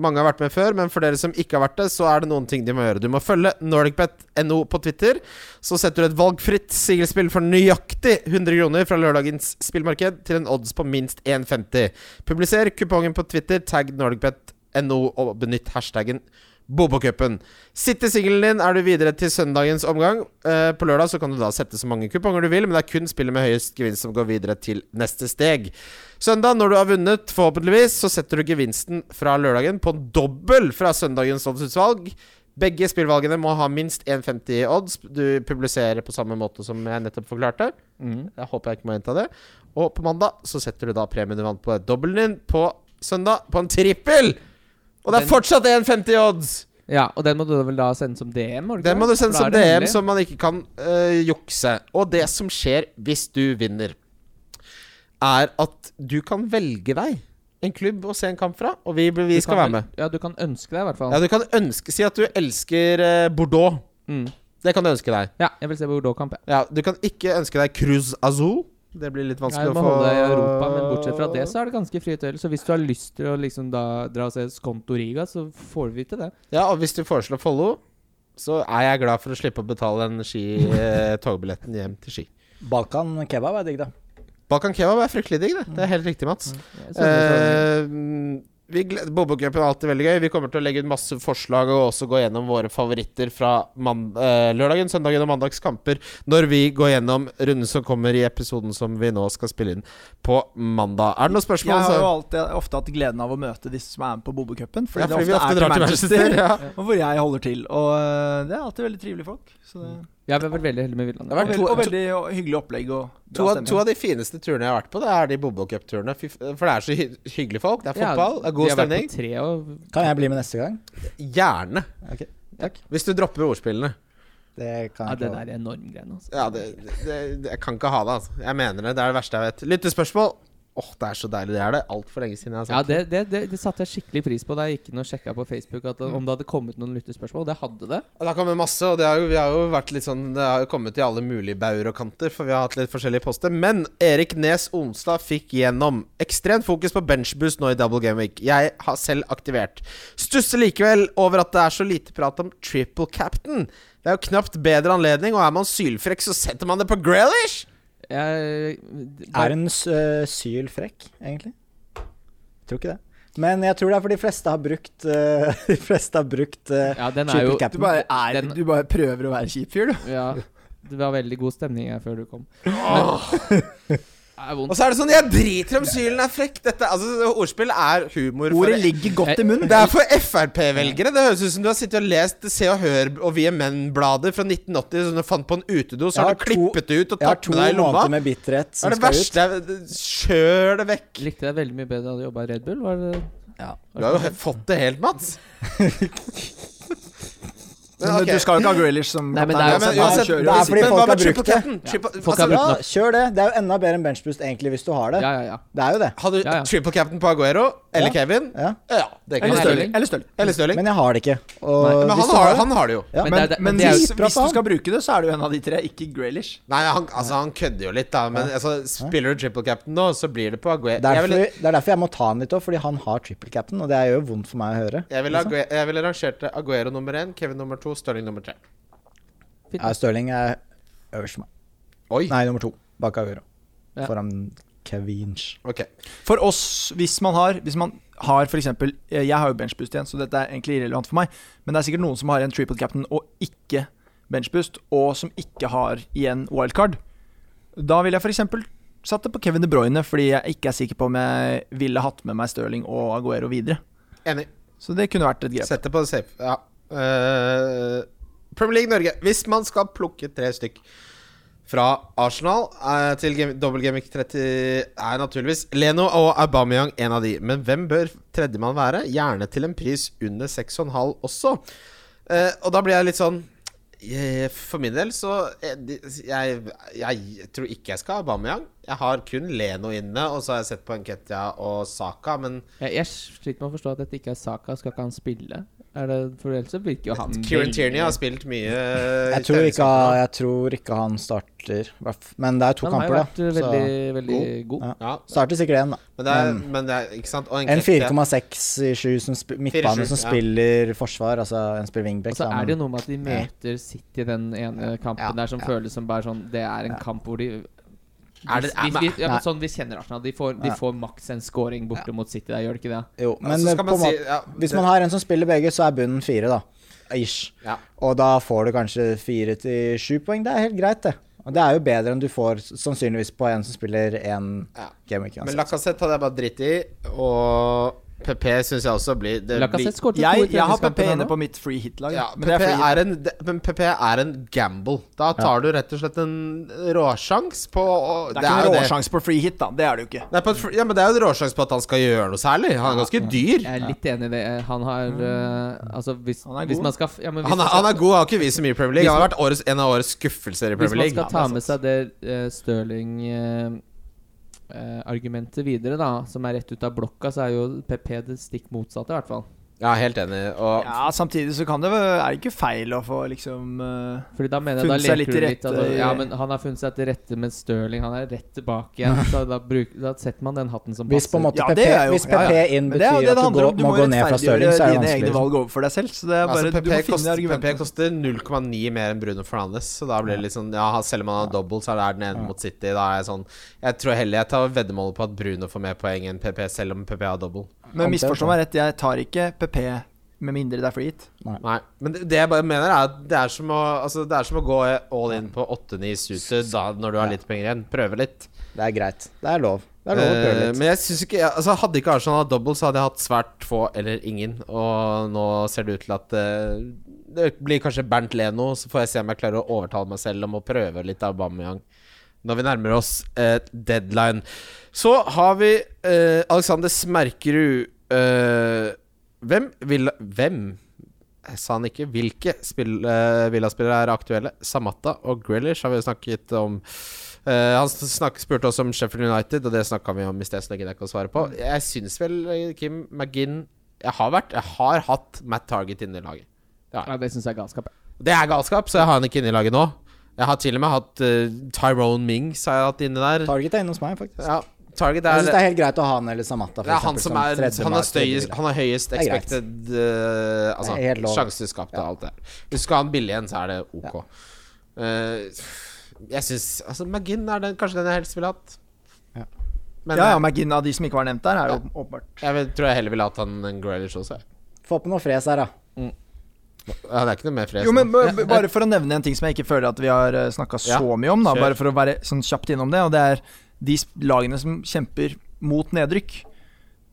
Mange har vært med før, men for dere som ikke har vært det, så er det noen ting de må gjøre. Du må følge NordicBet.no på Twitter. Så setter du et valgfritt sigelspill for nøyaktig 100 kroner fra lørdagens spillmarked til en odds på minst 1,50. Publiser kupongen på Twitter, tagg NordicBet.no og benytt hashtaggen Bobokupen. Sitter singelen din, er du videre til søndagens omgang. Eh, på lørdag så kan du da sette så mange kuponger du vil, men det er kun spillet med høyest gevinst som går videre til neste steg. Søndag, når du har vunnet, forhåpentligvis, så setter du gevinsten fra lørdagen på en dobbel fra søndagens oddsutvalg. Begge spillvalgene må ha minst 1,50 i odds. Du publiserer på samme måte som jeg nettopp forklarte. Mm. Jeg håper jeg ikke må gjenta det. Og på mandag så setter du da premien du vant på dobbelen din på søndag, på en trippel! Og det er Den- fortsatt 1,50 i odds! Ja, og den må du vel da sende som DM? må ikke Den må det? du sende For som da er DM, det som man ikke kan øh, jukse. Og det som skjer hvis du vinner, er at du kan velge deg en klubb å se en kamp fra, og vi, vi Du skal kan være med. vel- Ja, du kan ønske deg i hvert fall. Ja, Ja, du kan ønske Si at du elsker øh, Bordeaux. mm. Det kan du ønske deg. ja jeg vil se Bordeaux-kamp, jeg. Ja, du kan ikke ønske deg Cruz Azul. Det blir litt Jeg vanskelig må å få holde deg i Europa, men bortsett fra det så er det ganske frie tøyler. Så hvis du har lyst til å liksom da dra og se Skonto Riga, så får vi til det. Ja, og hvis du foreslår Follo, så er jeg glad for å slippe å betale den ski, øh, togbilletten hjem til Ski. Balkan kebab er digg, da. Balkan kebab er fryktelig digg, det. Det er helt riktig, Mats. Jeg synes det Eh, vi gled- Bobocupen er alltid veldig gøy. Vi kommer til å legge ut masse forslag og også gå gjennom våre favoritter fra man eh, lørdagen, søndagen og mandags kamper når vi går gjennom runden som kommer i episoden som vi nå skal spille inn på mandag. Er det noen Jeg spørsmål? har jo så- alltid, ofte hatt gleden av å møte disse som er med på Bobokupen. Fordi, ja, fordi vi det ofte ofte er drar til Manchester. Ja. eh, Og hvor jeg holder til. Og øh, det er alltid veldig trivelige folk. Så det, Jeg har vært veldig heldig med Villane. Det har vært Vel, to- og veldig og hyggelig opplegg og bra To av, stemning. to av de fineste turene jeg har vært på, det er de Bobo Cup-turene. Fy f- For det er så hy hyggelige folk. Det er Ja, fotball, det er god de har vært stemning. på tre og Kan jeg bli med neste gang? Gjerne. Ok, takk. Hvis du dropper ordspillene. Det kan Ja, jeg det ikke. der er enorm greiene, altså. Ja, det, det, det, jeg kan ikke ha det, altså. Jeg mener det. Det er det verste jeg vet. Lyttespørsmål! Åh, det er så deilig. Det er det altfor lenge siden altså. jeg har Ja, sagt det, det, det, det satte jeg skikkelig pris på da jeg gikk inn og sjekka på Facebook at, om det hadde kommet noen lyttespørsmål. Det hadde det. Det har kommet masse, og det har, jo, vi har jo vært litt sånn Det har jo kommet i alle mulige bauger og kanter, for vi har hatt litt forskjellige poster. Men Erik Nes Onstad fikk gjennom ekstremt fokus på benchboost nå i Double Game Week. Jeg har selv aktivert. Stusser likevel over at det er så lite prat om triple captain. Det er jo knapt bedre anledning, og er man sylfrekk, så setter man det på Grealish! Jeg, Er en s- øh, syl frekk, egentlig? Tror ikke det. Men jeg tror det er fordi de fleste har brukt øh, De fleste har brukt øh, ja, den er triple jo Du captain. bare, er, Den- du bare prøver å være kjip fyr, du. ja, Det var veldig god stemning her før du kom. Men, det er Og vondt. så er det sånn Jeg driter om sylen er frekk! Dette, altså, ordspill er humor. for Ordet ligger godt i munnen. Det er for Frp-velgere. Det høres ut som du har sittet og lest Se og Hør og Vi er menn-blader fra 1980 som du fant på en utedo, Jeg så har har du to- klippet det ut og Jeg har tatt to med deg i lomma. måneder med bitterhet Det som er det skal ut. verste jeg Kjør det vekk. Likte deg veldig mye bedre da du jobba i Red Bull. Var det, Du har jo he- fått det helt, Mats. Men, Men ok. du skal jo ikke ha Grealish som Nei, men det er Nei, jo kaptein, men altså, uansett, han kjører det er jo sånn sitt- fordi men folk hva har med triple brukt det. captain? Triple- Folk har altså, brukt Ja, kjør det. Det er jo enda bedre enn benchboost, egentlig, hvis du har det. ja, ja, ja. Det er jo det. Hadde du Ja, ja. triple captain på Aguero eller Ja. Kevin? Ja. Ja, det kan Eller være. Stirling. Eller Stirling. Eller Stirling. Men, Men jeg har det ikke. Og hvis han, du har, det- han har det jo. Ja, Men Men, det er- men det er jo- hvis, Dritbra hvis du faen. skal bruke det, så er det jo en av de tre, ikke Grealish. Nei, han, altså, han kødder jo litt, da. Men altså, spiller du triple captain nå, så blir det på Aguero. Jeg derfor, ville- Det er derfor jeg må ta han litt òg, fordi han har triple captain, og det gjør vondt for meg å høre. Jeg ville, Aguero, jeg ville rangert det Aguero nummer én, Kevin nummer to, Stirling nummer tre. Liksom. Ja, Stirling er øverst for meg. Oi. Nei, nummer to. Bak Aguero. Ja. Foran Kevinch. Ok. For oss, hvis man har Hvis man har for eksempel eh, Jeg har jo benchboost igjen, så dette er egentlig irrelevant for meg. Men det er sikkert noen som har en triple captain og ikke benchboost, og som ikke har igjen wildcard. Da ville jeg for eksempel satt det på Kevin De Bruyne, fordi jeg ikke er sikker på om jeg ville hatt med meg Stirling og Aguero videre. Enig. Så det kunne vært et grep. Sett det på det safe. Ja. Eh, Premier League Norge. Hvis man skal plukke tre stykk fra Arsenal eh, til game, dobbel Gamic 30, er naturligvis Leno og Aubameyang en av de. Men hvem bør tredjemann være? Gjerne til en pris under 6,5 også. Eh, og da blir jeg litt sånn eh, For min del så eh, de- jeg, jeg tror ikke jeg skal ha Aubameyang. Jeg har kun Leno inne, og så har jeg sett på Enketia og Saka, men Jeg, jeg sliter med å forstå at dette ikke er Saka. Skal ikke han spille? Er det, for ellers så virker jo han Kieran veldig- Tierney har spilt mye Jeg tror, ikke, jeg tror ikke han starter, hvertf- men det er to Han har kamper, jo da. vært uh, så- veldig, veldig god. Ja. ja, Starter sikkert én, da. men det er, men det er ikke sant og En Enketia- 4,6 i 7 som sp midtbane 4-7, som ja. spiller forsvar, altså en spiller wingback. Og så da, er men- det jo noe med at de møter City den ene kampen Ja, der som ja. føles som bare sånn Det er en kamp hvor de Er det- vi, er- vi, ja, Nei. men sånn vi kjenner Arsenal. De får, de Ja. får maks en scoring borte mot City der, gjør de ikke det? Jo, Ja, men eh, så skal på en man si- måte ja, Hvis det- man har en som spiller begge, så er bunnen fire, da. Ish. Ja. Og da får du kanskje fire til sju poeng. Det er helt greit, det. Og det er jo bedre enn du får s- sannsynligvis på en altså. som spiller én Ja. gameweek. Men uansett. Lacassette hadde jeg bare dritt i, og PP syns jeg også blir det Lacassette skåret to Jeg, i jeg har PP treningskampen her inne nå. på mitt free hit-lag. blir ja, men PP det er free hit. er en, det, men PP er en gamble. Da tar du rett og slett en råsjans på og, Det er ikke en jo råsjanse på free hit, da. Det er det jo ikke. Det er på et, fr- ja, men det er jo en råsjans på at han skal gjøre noe særlig. Han er ganske dyr. Jeg er litt enig i det. Han har eh, Altså, hvis, Han er hvis god. man skal f- ja, men hvis Han er, han er god, har ikke vist så mye i Premier League. Han har vært årets, en av årets skuffelser i Hvis Premier man League. skal ta med altså. seg det uh, Stirling-argumentet eh, videre, da, som er rett ut av blokka, så er jo PP det stikk motsatte, i hvert fall. Ja, helt enig. Og Ja, Samtidig så kan det være- er det ikke feil å få liksom eh, Fordi da mener jeg da Funnet seg leker litt du eh, til litt at, rette i- Ja, men han har funnet seg til rette med Stirling, han er rett tilbake igjen. Så da, bruk, da setter man den hatten som Hvis på en måte passer. Ja, PP, det er jo- hvis PP ja, ja. inn Men det betyr er jo det det at du, handler går, om. Du må må gå ned fra Stirling, rettferdiggjøre så er det dine egne vanskeligere. valg overfor deg selv. Så det er bare, Altså, du må PP finne koster, PP argumenter. koster 0,9 mer enn Bruno Fernandes. Så da blir det litt sånn Ja, han- selv om han har double, så er det den ene mot City. Da er jeg sånn Jeg tror heller jeg tar veddemålet på at Bruno får mer poeng enn PP, selv om PP har double. Men misforstå meg rett, jeg tar ikke PP med mindre det er free hit. Nei. Men det, det jeg bare mener, er at det er som å, altså, det er som å gå all in på 8-9 suited da, når du har litt penger igjen. Prøve litt. Det er greit. Det er lov. Det er lov å prøve Eh, litt. men jeg synes ikke Altså Hadde ikke Arsenal hatt double, så hadde jeg hatt svært få eller ingen. Og nå ser det ut til at eh, det blir kanskje Bernt Leno, så får jeg se om jeg klarer å overtale meg selv om å prøve litt av Aubameyang når vi nærmer oss eh, deadline. Så har vi eh, Alexander Smerkerud. Eh, hvem vil Hvem? Jeg sa han ikke. Hvilke spill, eh, Villa-spillere er aktuelle? Samata og Grealish har vi snakket om. Eh, han snak, spurte også om Sheffield United, og det snakka vi om i sted. Så det gidder jeg ikke å svare på. Jeg syns vel eh, Kim McGinn Jeg har vært Jeg har hatt Matt Target inne i laget. Nei, det syns jeg er galskap. jeg. Det er galskap, så jeg har han ikke inne i laget nå. Jeg har til og med hatt eh, Tyrone Mings har jeg hatt inne der. Target er inne hos meg, faktisk. ja, Target Jeg er, syns det er helt greit å ha han eller Samata. det er han sånn som er Han har, støyest, han har høyest er greit. expected eh, Altså Det er helt lov. sjanseskapt og alt det der. Hvis du skal ha en billig en, så er det ok. Eh, jeg syns Altså, Magin er den, kanskje den jeg helst ville hatt. Ja. Men ja, ja, McGinn av de som ikke var nevnt der, er jo åpenbart jeg vil, tror jeg heller ville hatt han enn Grealish også. jeg. Få på noe fres her, da. Ja, det er ikke noe mer fres. Jo, men nå. b- b- Bare for å nevne en ting som jeg ikke føler at vi har snakka så Ja, mye om, da, kjør. bare for å være sånn kjapt innom det, og det er de sp- lagene som kjemper mot nedrykk,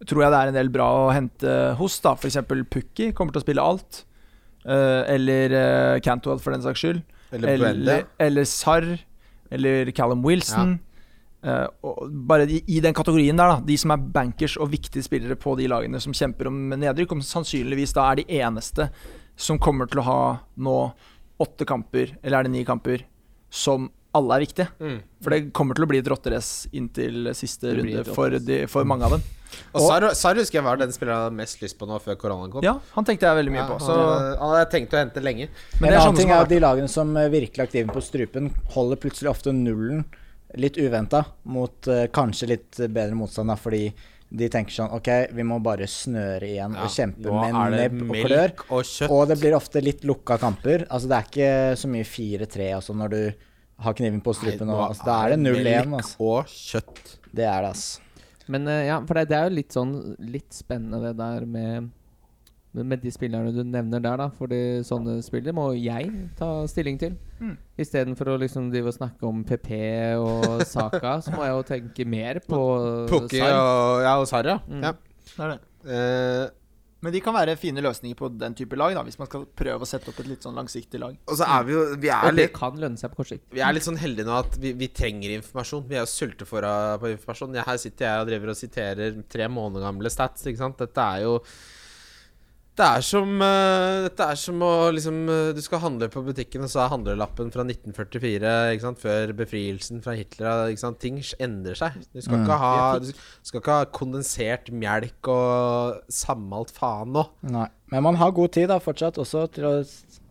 tror jeg det er en del bra å hente hos. da F.eks. Pukki kommer til å spille alt. eh, eller eh, Cantwell, for den saks skyld. Eller Brenda. eller, eller Sarr. Eller Callum Wilson. Eh, og bare i, I den kategorien der, da. De som er bankers og viktige spillere på de lagene som kjemper om nedrykk, om sannsynligvis da er de eneste som kommer til å ha nå åtte kamper, eller er det ni kamper, som alle er viktige. Mm. For det kommer til å bli et rotterace inntil siste Det blir runde et for, de, for mange av dem. Og Sar Sar husker jeg var den spilleren jeg hadde mest lyst på nå før koronaen kom. Ja, han tenkte jeg veldig mye Ja, på. han- Så, han hadde jeg tenkt å hente lenge. en men det er annen sånne ting som er har at de lagene som eh, virkelig er aktive på strupen, holder plutselig ofte nullen litt uventa mot eh, kanskje litt bedre motstand, da, fordi de tenker sånn OK, vi må bare snøre igjen og kjempe nå med er det nebb og melk klør. Og kjøtt. Og det blir ofte litt lukka kamper. Altså Det er ikke så mye 4-3 altså, når du har kniven på strupen. Nei, og, nå altså, da er det 0-1. melk Altså. Og kjøtt. Det er det, altså. Men eh, ja, for det, det er jo litt sånn litt spennende det der med med med de spillerne du nevner der, da. Fordi sånne spillere må jeg ta stilling til. Mm. Istedenfor å liksom drive og snakke om PP og Saka, så må jeg jo tenke mer på Pukki Sarr. og, ja, og Sarri, ja. Mm. ja. det er det. Eh, Men de kan være fine løsninger på den type lag, da, hvis man skal prøve å sette opp et litt sånn langsiktig lag. og så er vi jo Vi er Og det litt kan lønne seg på kort sikt. vi er litt sånn heldige nå at vi, vi trenger informasjon. Vi er jo sultefora på informasjon. Jeg, her sitter jeg og driver og siterer tre måneder gamle stats. Ikke sant? Dette er jo Det er som eh, Dette er som å liksom eh, Du skal handle på butikken, og så er handlelappen fra 1944, ikke sant? før befrielsen fra Hitler. Ikke sant? Ting endrer seg. Du skal, ikke ha, du skal ikke ha kondensert mjelk og sammalt faen nå. Nei. Men man har god tid da fortsatt også til å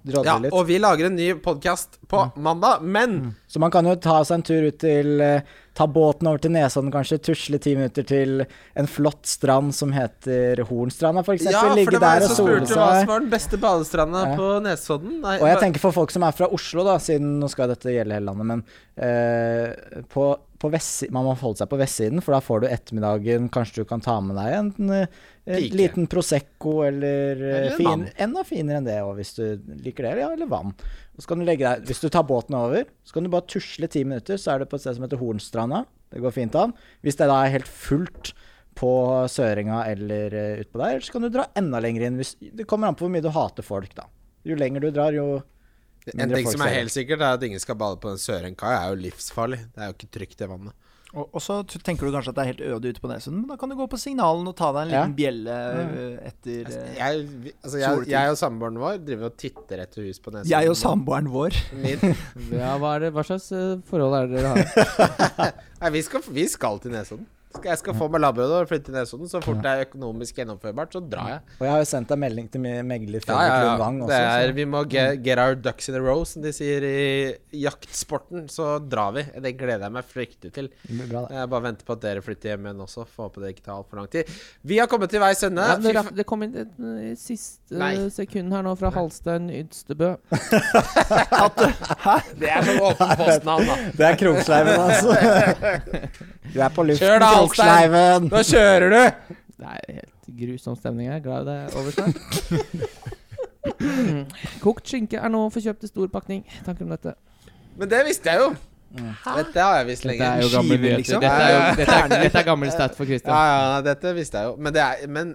drodle Ja, litt. og vi lager en ny podkast på mandag, men Så man kan jo ta seg en tur ut til eh, Ta båten over til Nesodden, kanskje. Tusle ti minutter til en flott strand som heter Hornstranda, f.eks. Ja, for Ligge det var der jeg og som sole spurte hva som seg. var den beste badestranda Ja. på Nesodden. Nei, Og jeg hva- tenker for folk som er fra Oslo, da, siden nå skal dette gjelde hele landet, men eh, på, på vest, man må holde seg på vestsiden, for da får du ettermiddagen Kanskje du kan ta med deg en, eh, Pike. liten Prosecco eller, eh, Eller en fin, vann. Enda finere enn det, og hvis du liker det, eller, ja, eller vann. Og så kan du legge deg, hvis du tar båten over, så kan du bare tusle ti minutter, så er det på et sted som heter Hornstranda. Det går fint an. Hvis det da er helt fullt på Søringa eller eh, utpå der, så kan du dra enda lenger inn. Hvis, det kommer an på hvor mye du hater folk, da. Jo lenger du drar, jo En mindre ting folk som er ser helt sikkert, er at ingen skal bade på den Sørenkaia. er jo livsfarlig. Det er jo ikke trygt, det vannet. Og, og så t- tenker du kanskje at det er helt øde ute på Nesodden, men da kan du gå på signalen og ta deg en liten bjelle eh, etter Altså, eh, jeg, vi- altså, jeg, Soltid. jeg og samboeren vår driver og titter etter hus på Nesodden. Jeg og samboeren vår. Min- Ja, hva, er det, hva slags eh, forhold er det dere har? Nei, vi skal, vi skal til Nesodden. Skal- Jeg skal få meg labrador og flytte til Nesodden. Så fort det er økonomisk gjennomførbart, så drar jeg. Og jeg har jo sendt deg melding til min Ja, megler Fredrik ja, Lundvang ja. også. Det er, så- vi må get, get our ducks in a row, som de sier i jaktsporten. Så drar vi. Det gleder jeg meg fryktelig til. Det blir bra, det. Jeg bare venter på at dere flytter hjem igjen også. Får håpe det ikke tar altfor lang tid. Vi har kommet til veis ende. Ja, det, Fy rakk- fa- det kom inn et eh, siste Nei. eh, sekund her nå fra Halstein Ydstebø. det er sånn åpen postnavn, da. Det er Kroksleiven, altså. Du er på luften, Kjør da, Alstein. Kroksleiven. Nå kjører du! Det er helt grusom stemning her. Glad det er over snart. Kokt skinke er nå forkjøpt i stor pakning. Tanker om dette? Men det visste jeg jo. Dette har jeg visst lenge. jo gamle Skiver, nyheter. liksom. Dette er, jo, dette, er, dette er gammel stat for Ja, Christian. ja, dette visste jeg jo. Men, det er, men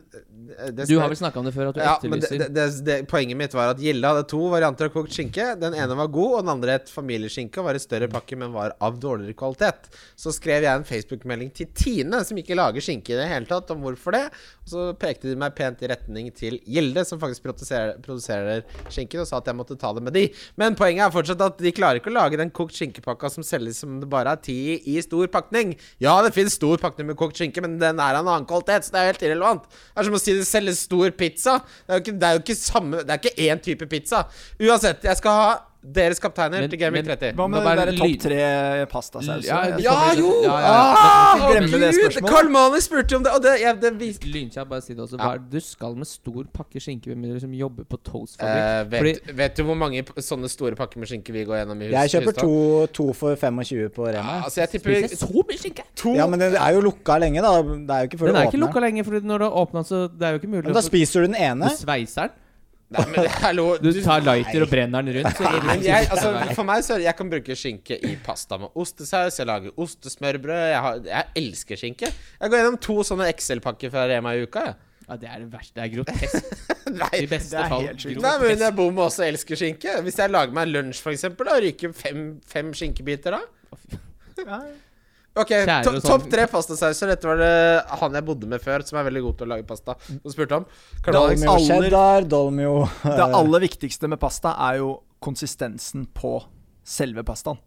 det- Du har vel snakka om det før, at du ja, men det, etterlyser det, det, det, Poenget mitt var at Gilde hadde to varianter av kokt skinke. Den ene var god, og den andre et familieskinke og var i større pakke, men var av dårligere kvalitet. Så skrev jeg en Facebook-melding til Tine, som ikke lager skinke i det hele tatt, om hvorfor det. Og så pekte de meg pent i retning til Gilde, som faktisk produserer, produserer skinken, og sa at jeg måtte ta det med de. Men poenget er fortsatt at de klarer ikke å lage den kokt skinkepakka som selges som det bare er ti i, i stor pakning. Ja, det finnes stor pakning med kokt skinke, men den er av en annen kvalitet, så det er helt irrelevant. Det er som å si det selges stor pizza. Det er jo ikke, det er jo ikke samme Det er ikke én type pizza. Uansett, jeg skal ha deres kapteiner Men- til Gaming men- 30. Hva med Nå den bare derre lyd- topp tre pastasauser? Ja, Jeg- det- Ja, jo! Ja, ja, ja. Ah, Men- Glemme det Gud! spørsmålet. Karl Mani spurte jo om det, og det, jeg, det vis- Lynkjapt, bare si det også. Hva er det du skal med stor pakke skinke med mindre du liksom jobber på Eh, Toast-fabrikk? vet, vet du hvor mange p- sånne store pakker med skinke vi går gjennom i hus? Jeg kjøper husstand? to, to for 25 på Ja, Rema. altså, jeg tipper Spiser jeg så mye skinke? to Ja, men den er jo lukka lenge, da. Det er jo ikke før Den du er ikke åpner lukka den. lenger, for når du har åpna, så det er jo ikke mulig Men da spiser du den ene. Du sveiser den. Nei, men hallo Du tar lighter og brenner den rundt. Så Men jeg, altså, for meg så er det- Jeg kan bruke skinke i pasta med ostesaus. Jeg lager ostesmørbrød. Jeg, har, jeg elsker skinke. Jeg går gjennom to sånne Excel-pakker fra Rema i uka. Jeg. ja, det er det verste. Det er grotesk. I Nei, Det beste er fall. helt sjukt. Nei, men jeg bor med også elsker skinke. Hvis jeg lager meg lunsj, for eksempel, da ryker fem, fem skinkebiter da. Ja. Ok, Kjære to, sånn- Topp tre pastasauser. Dette var det han jeg bodde med før, som er veldig god til å lage pasta. Og spurte om. Kan du ha en- Dolmio aller- cheddar, Dolmio Det aller viktigste med pasta er jo konsistensen på selve pastaen.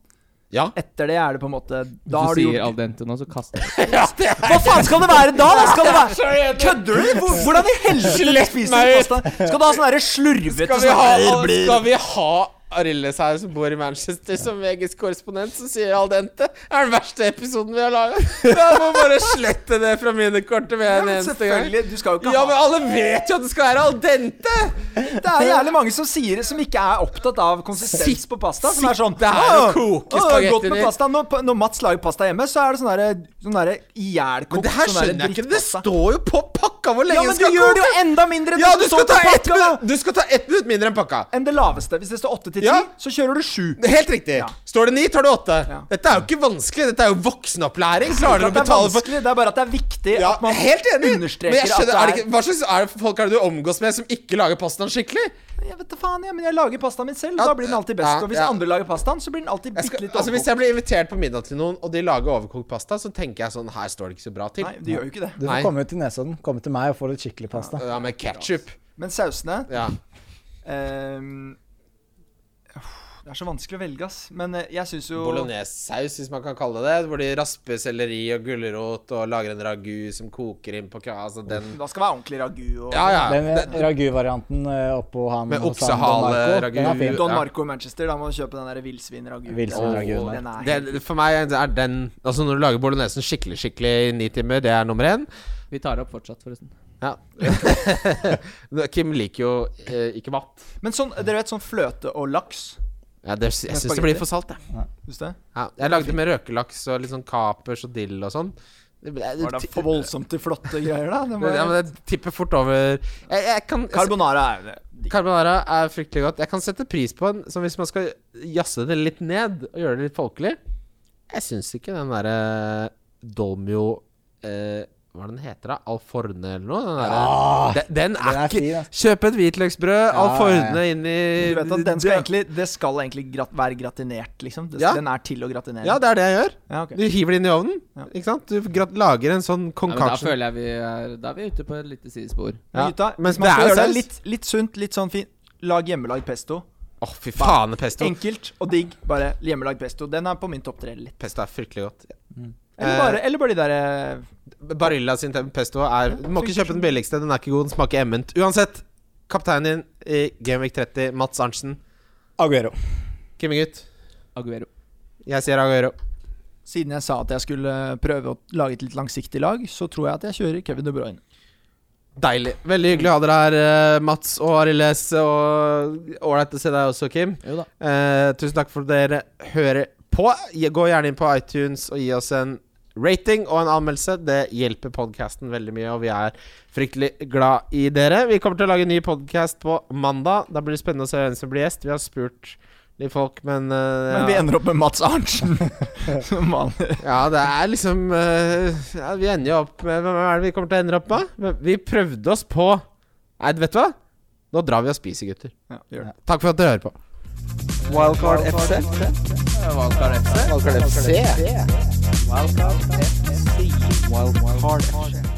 Ja. Etter det er det på en måte Da Du har du sier gjort al dente nå, så kaster jeg Hva faen skal det være da?! da? Skal det være Kødder du?! Hvor- Hvordan i helvete spiser du meg ut. pasta? Skal du ha sånn derre slurvete Skal vi ha, sånn- skal vi ha Arildes her, som bor i Manchester, som VGs korrespondent, som sier al dente? Det er den verste episoden vi har laga. Jeg må bare slette det fra minnekortet med Ja, en men eneste gang. Selvfølgelig. Du skal jo ikke Ja, men ha alle vet jo at det skal være al dente! Det er jævlig mange som sier som ikke er opptatt av konsistens på pasta. Som er sånn Sitt der og «Åh, koke åh, spagetti Godt med din.» pasta. Når, når Mats lager pasta hjemme, så er det sånn derre sånn der Men ihjelkokt det her sånn derre skjønner jeg ikke. Det drittpasta. står jo på pakka hvor Ja, lenge det men du skal gjør det jo koke! enda mindre enn Ja, du det som skal står ta på ett pakka! minutt, du skal ta ett minutt mindre enn pakka. Enn det laveste. Hvis det står 8 til 10, Ja. så kjører du 7. Helt riktig. Ja. Står det ni, tar du åtte. Ja. Dette er jo ikke vanskelig. Dette er jo voksenopplæring. Klarer du Det å er betale for vanskelig, det er bare at det er viktig Ja, at man helt enig. Men understreker jeg skjønner, er at det det ikke, Hva slags er det folk er det du omgås med som ikke lager pastaen skikkelig? er Jeg vet da faen, jeg, men jeg lager pastaen min selv. Ja, Da blir den alltid best. ja, Og hvis ja. andre lager pastaen, så blir den alltid Jeg bitte skal, litt altså Hvis overkokt. jeg blir invitert på middag til noen, og de lager overkokt pasta, så tenker jeg sånn Her står det ikke så bra til. Nei, det gjør jo ikke det. Du Nei. får komme ut til Nesodden. Komme til meg og få litt skikkelig pasta. Ja, med ketsjup. Men sausene Ja. ehm, Det er så vanskelig å velge, ass. Men eh, jeg syns jo Bolognesesaus, hvis man kan kalle det det. Hvor de rasper selleri og gulrot og lager en ragu som koker inn på kra- Altså den Da skal det være ordentlig ragu og Ja, ja. Den eh, Den, ragu-varianten eh, oppå han Med hos han Don oksehale Marco, ragu. Den er fin. Don ja. Marco i Manchester, da må du kjøpe den der villsvinragu. Villsvinragu, Åh, nei. den er helt- det, for meg er den Altså Når du lager bolognesen skikkelig skikkelig i ni timer, det er nummer én. Vi tar det opp fortsatt, forresten. Ja. Kim liker jo eh, ikke mat. Men sånn, dere vet sånn fløte og laks? Ja, det, jeg Men syns det spagetti? blir for salt, jeg. Syns du det? Ja, jeg lagde med røkelaks og litt sånn kapers og dill og sånn. Det, det, Var det for voldsomt til flotte greier, da? Det må ja, men jeg... det tipper fort over jeg, jeg kan, Carbonara er jo det. Carbonara er fryktelig godt. Jeg kan sette pris på en som hvis man skal jazze det litt ned og gjøre det litt folkelig. Jeg syns ikke den derre Dolmio eh, Hva er det den heter, da? Alforne eller noe? Den, derre- Ah, den, den den er er ikke fin, ass. Kjøp et hvitløksbrød, ja, Alforne ja. inn i Du vet at den skal egentlig, det skal egentlig grat være gratinert, liksom? Det, Ja. Den er til å gratinere? Ja, det er det jeg gjør. Ja, ok. Du hiver det inn i ovnen. Ja. Ikke sant? Du grat- lager en sånn Ja, men da concoction. føler jeg vi er, da er vi ute på et lite sidespor. Men Ja, gutta, men hvis det man er skal jo gjøre det saus. litt, litt sunt, litt sånn fin Lag hjemmelagd pesto. Å, fy faen, pesto. Enkelt og digg. Bare hjemmelagd pesto. Den er på min topp tre. litt. Pesto er fryktelig godt. Eller bare, eller bare de eh, derre Barilla sin tem- pesto er Du må ikke kjøpe den billigste, den er ikke god, den smaker emment. Uansett, kapteinen din i Gameweek 30, Mats Arntzen. Aguero. Kimmegutt, Aguero. jeg sier Aguero. Siden jeg sa at jeg skulle eh, prøve å lage et litt langsiktig lag, så tror jeg at jeg kjører Kevin De Bruyne. Deilig. Veldig hyggelig å ha dere her, eh, Mats og Arildes. Og ålreit å se deg også, Kim. Jo da. Eh, tusen takk for at dere hører på. Gi- Gå gjerne inn på iTunes og gi oss en rating og en anmeldelse. Det hjelper podkasten veldig mye, og vi er fryktelig glad i dere. Vi kommer til å lage en ny podkast på mandag. Da blir det spennende å se hvem som blir gjest. Vi har spurt vanlige folk, men, eh, Men vi ja. ender opp med Mats Arntzen. Som vanlig. ja, det er liksom eh, ja, Vi ender jo opp med Hvem er det vi kommer til å ende opp med? Men Vi prøvde oss på Nei, vet du hva? Nå drar vi og spiser, gutter. Ja, gjør det. Takk for at dere hører på. Wildcard FC. Wildcard FC. Wildcard FC. Wildcard FC. Wildcard FC.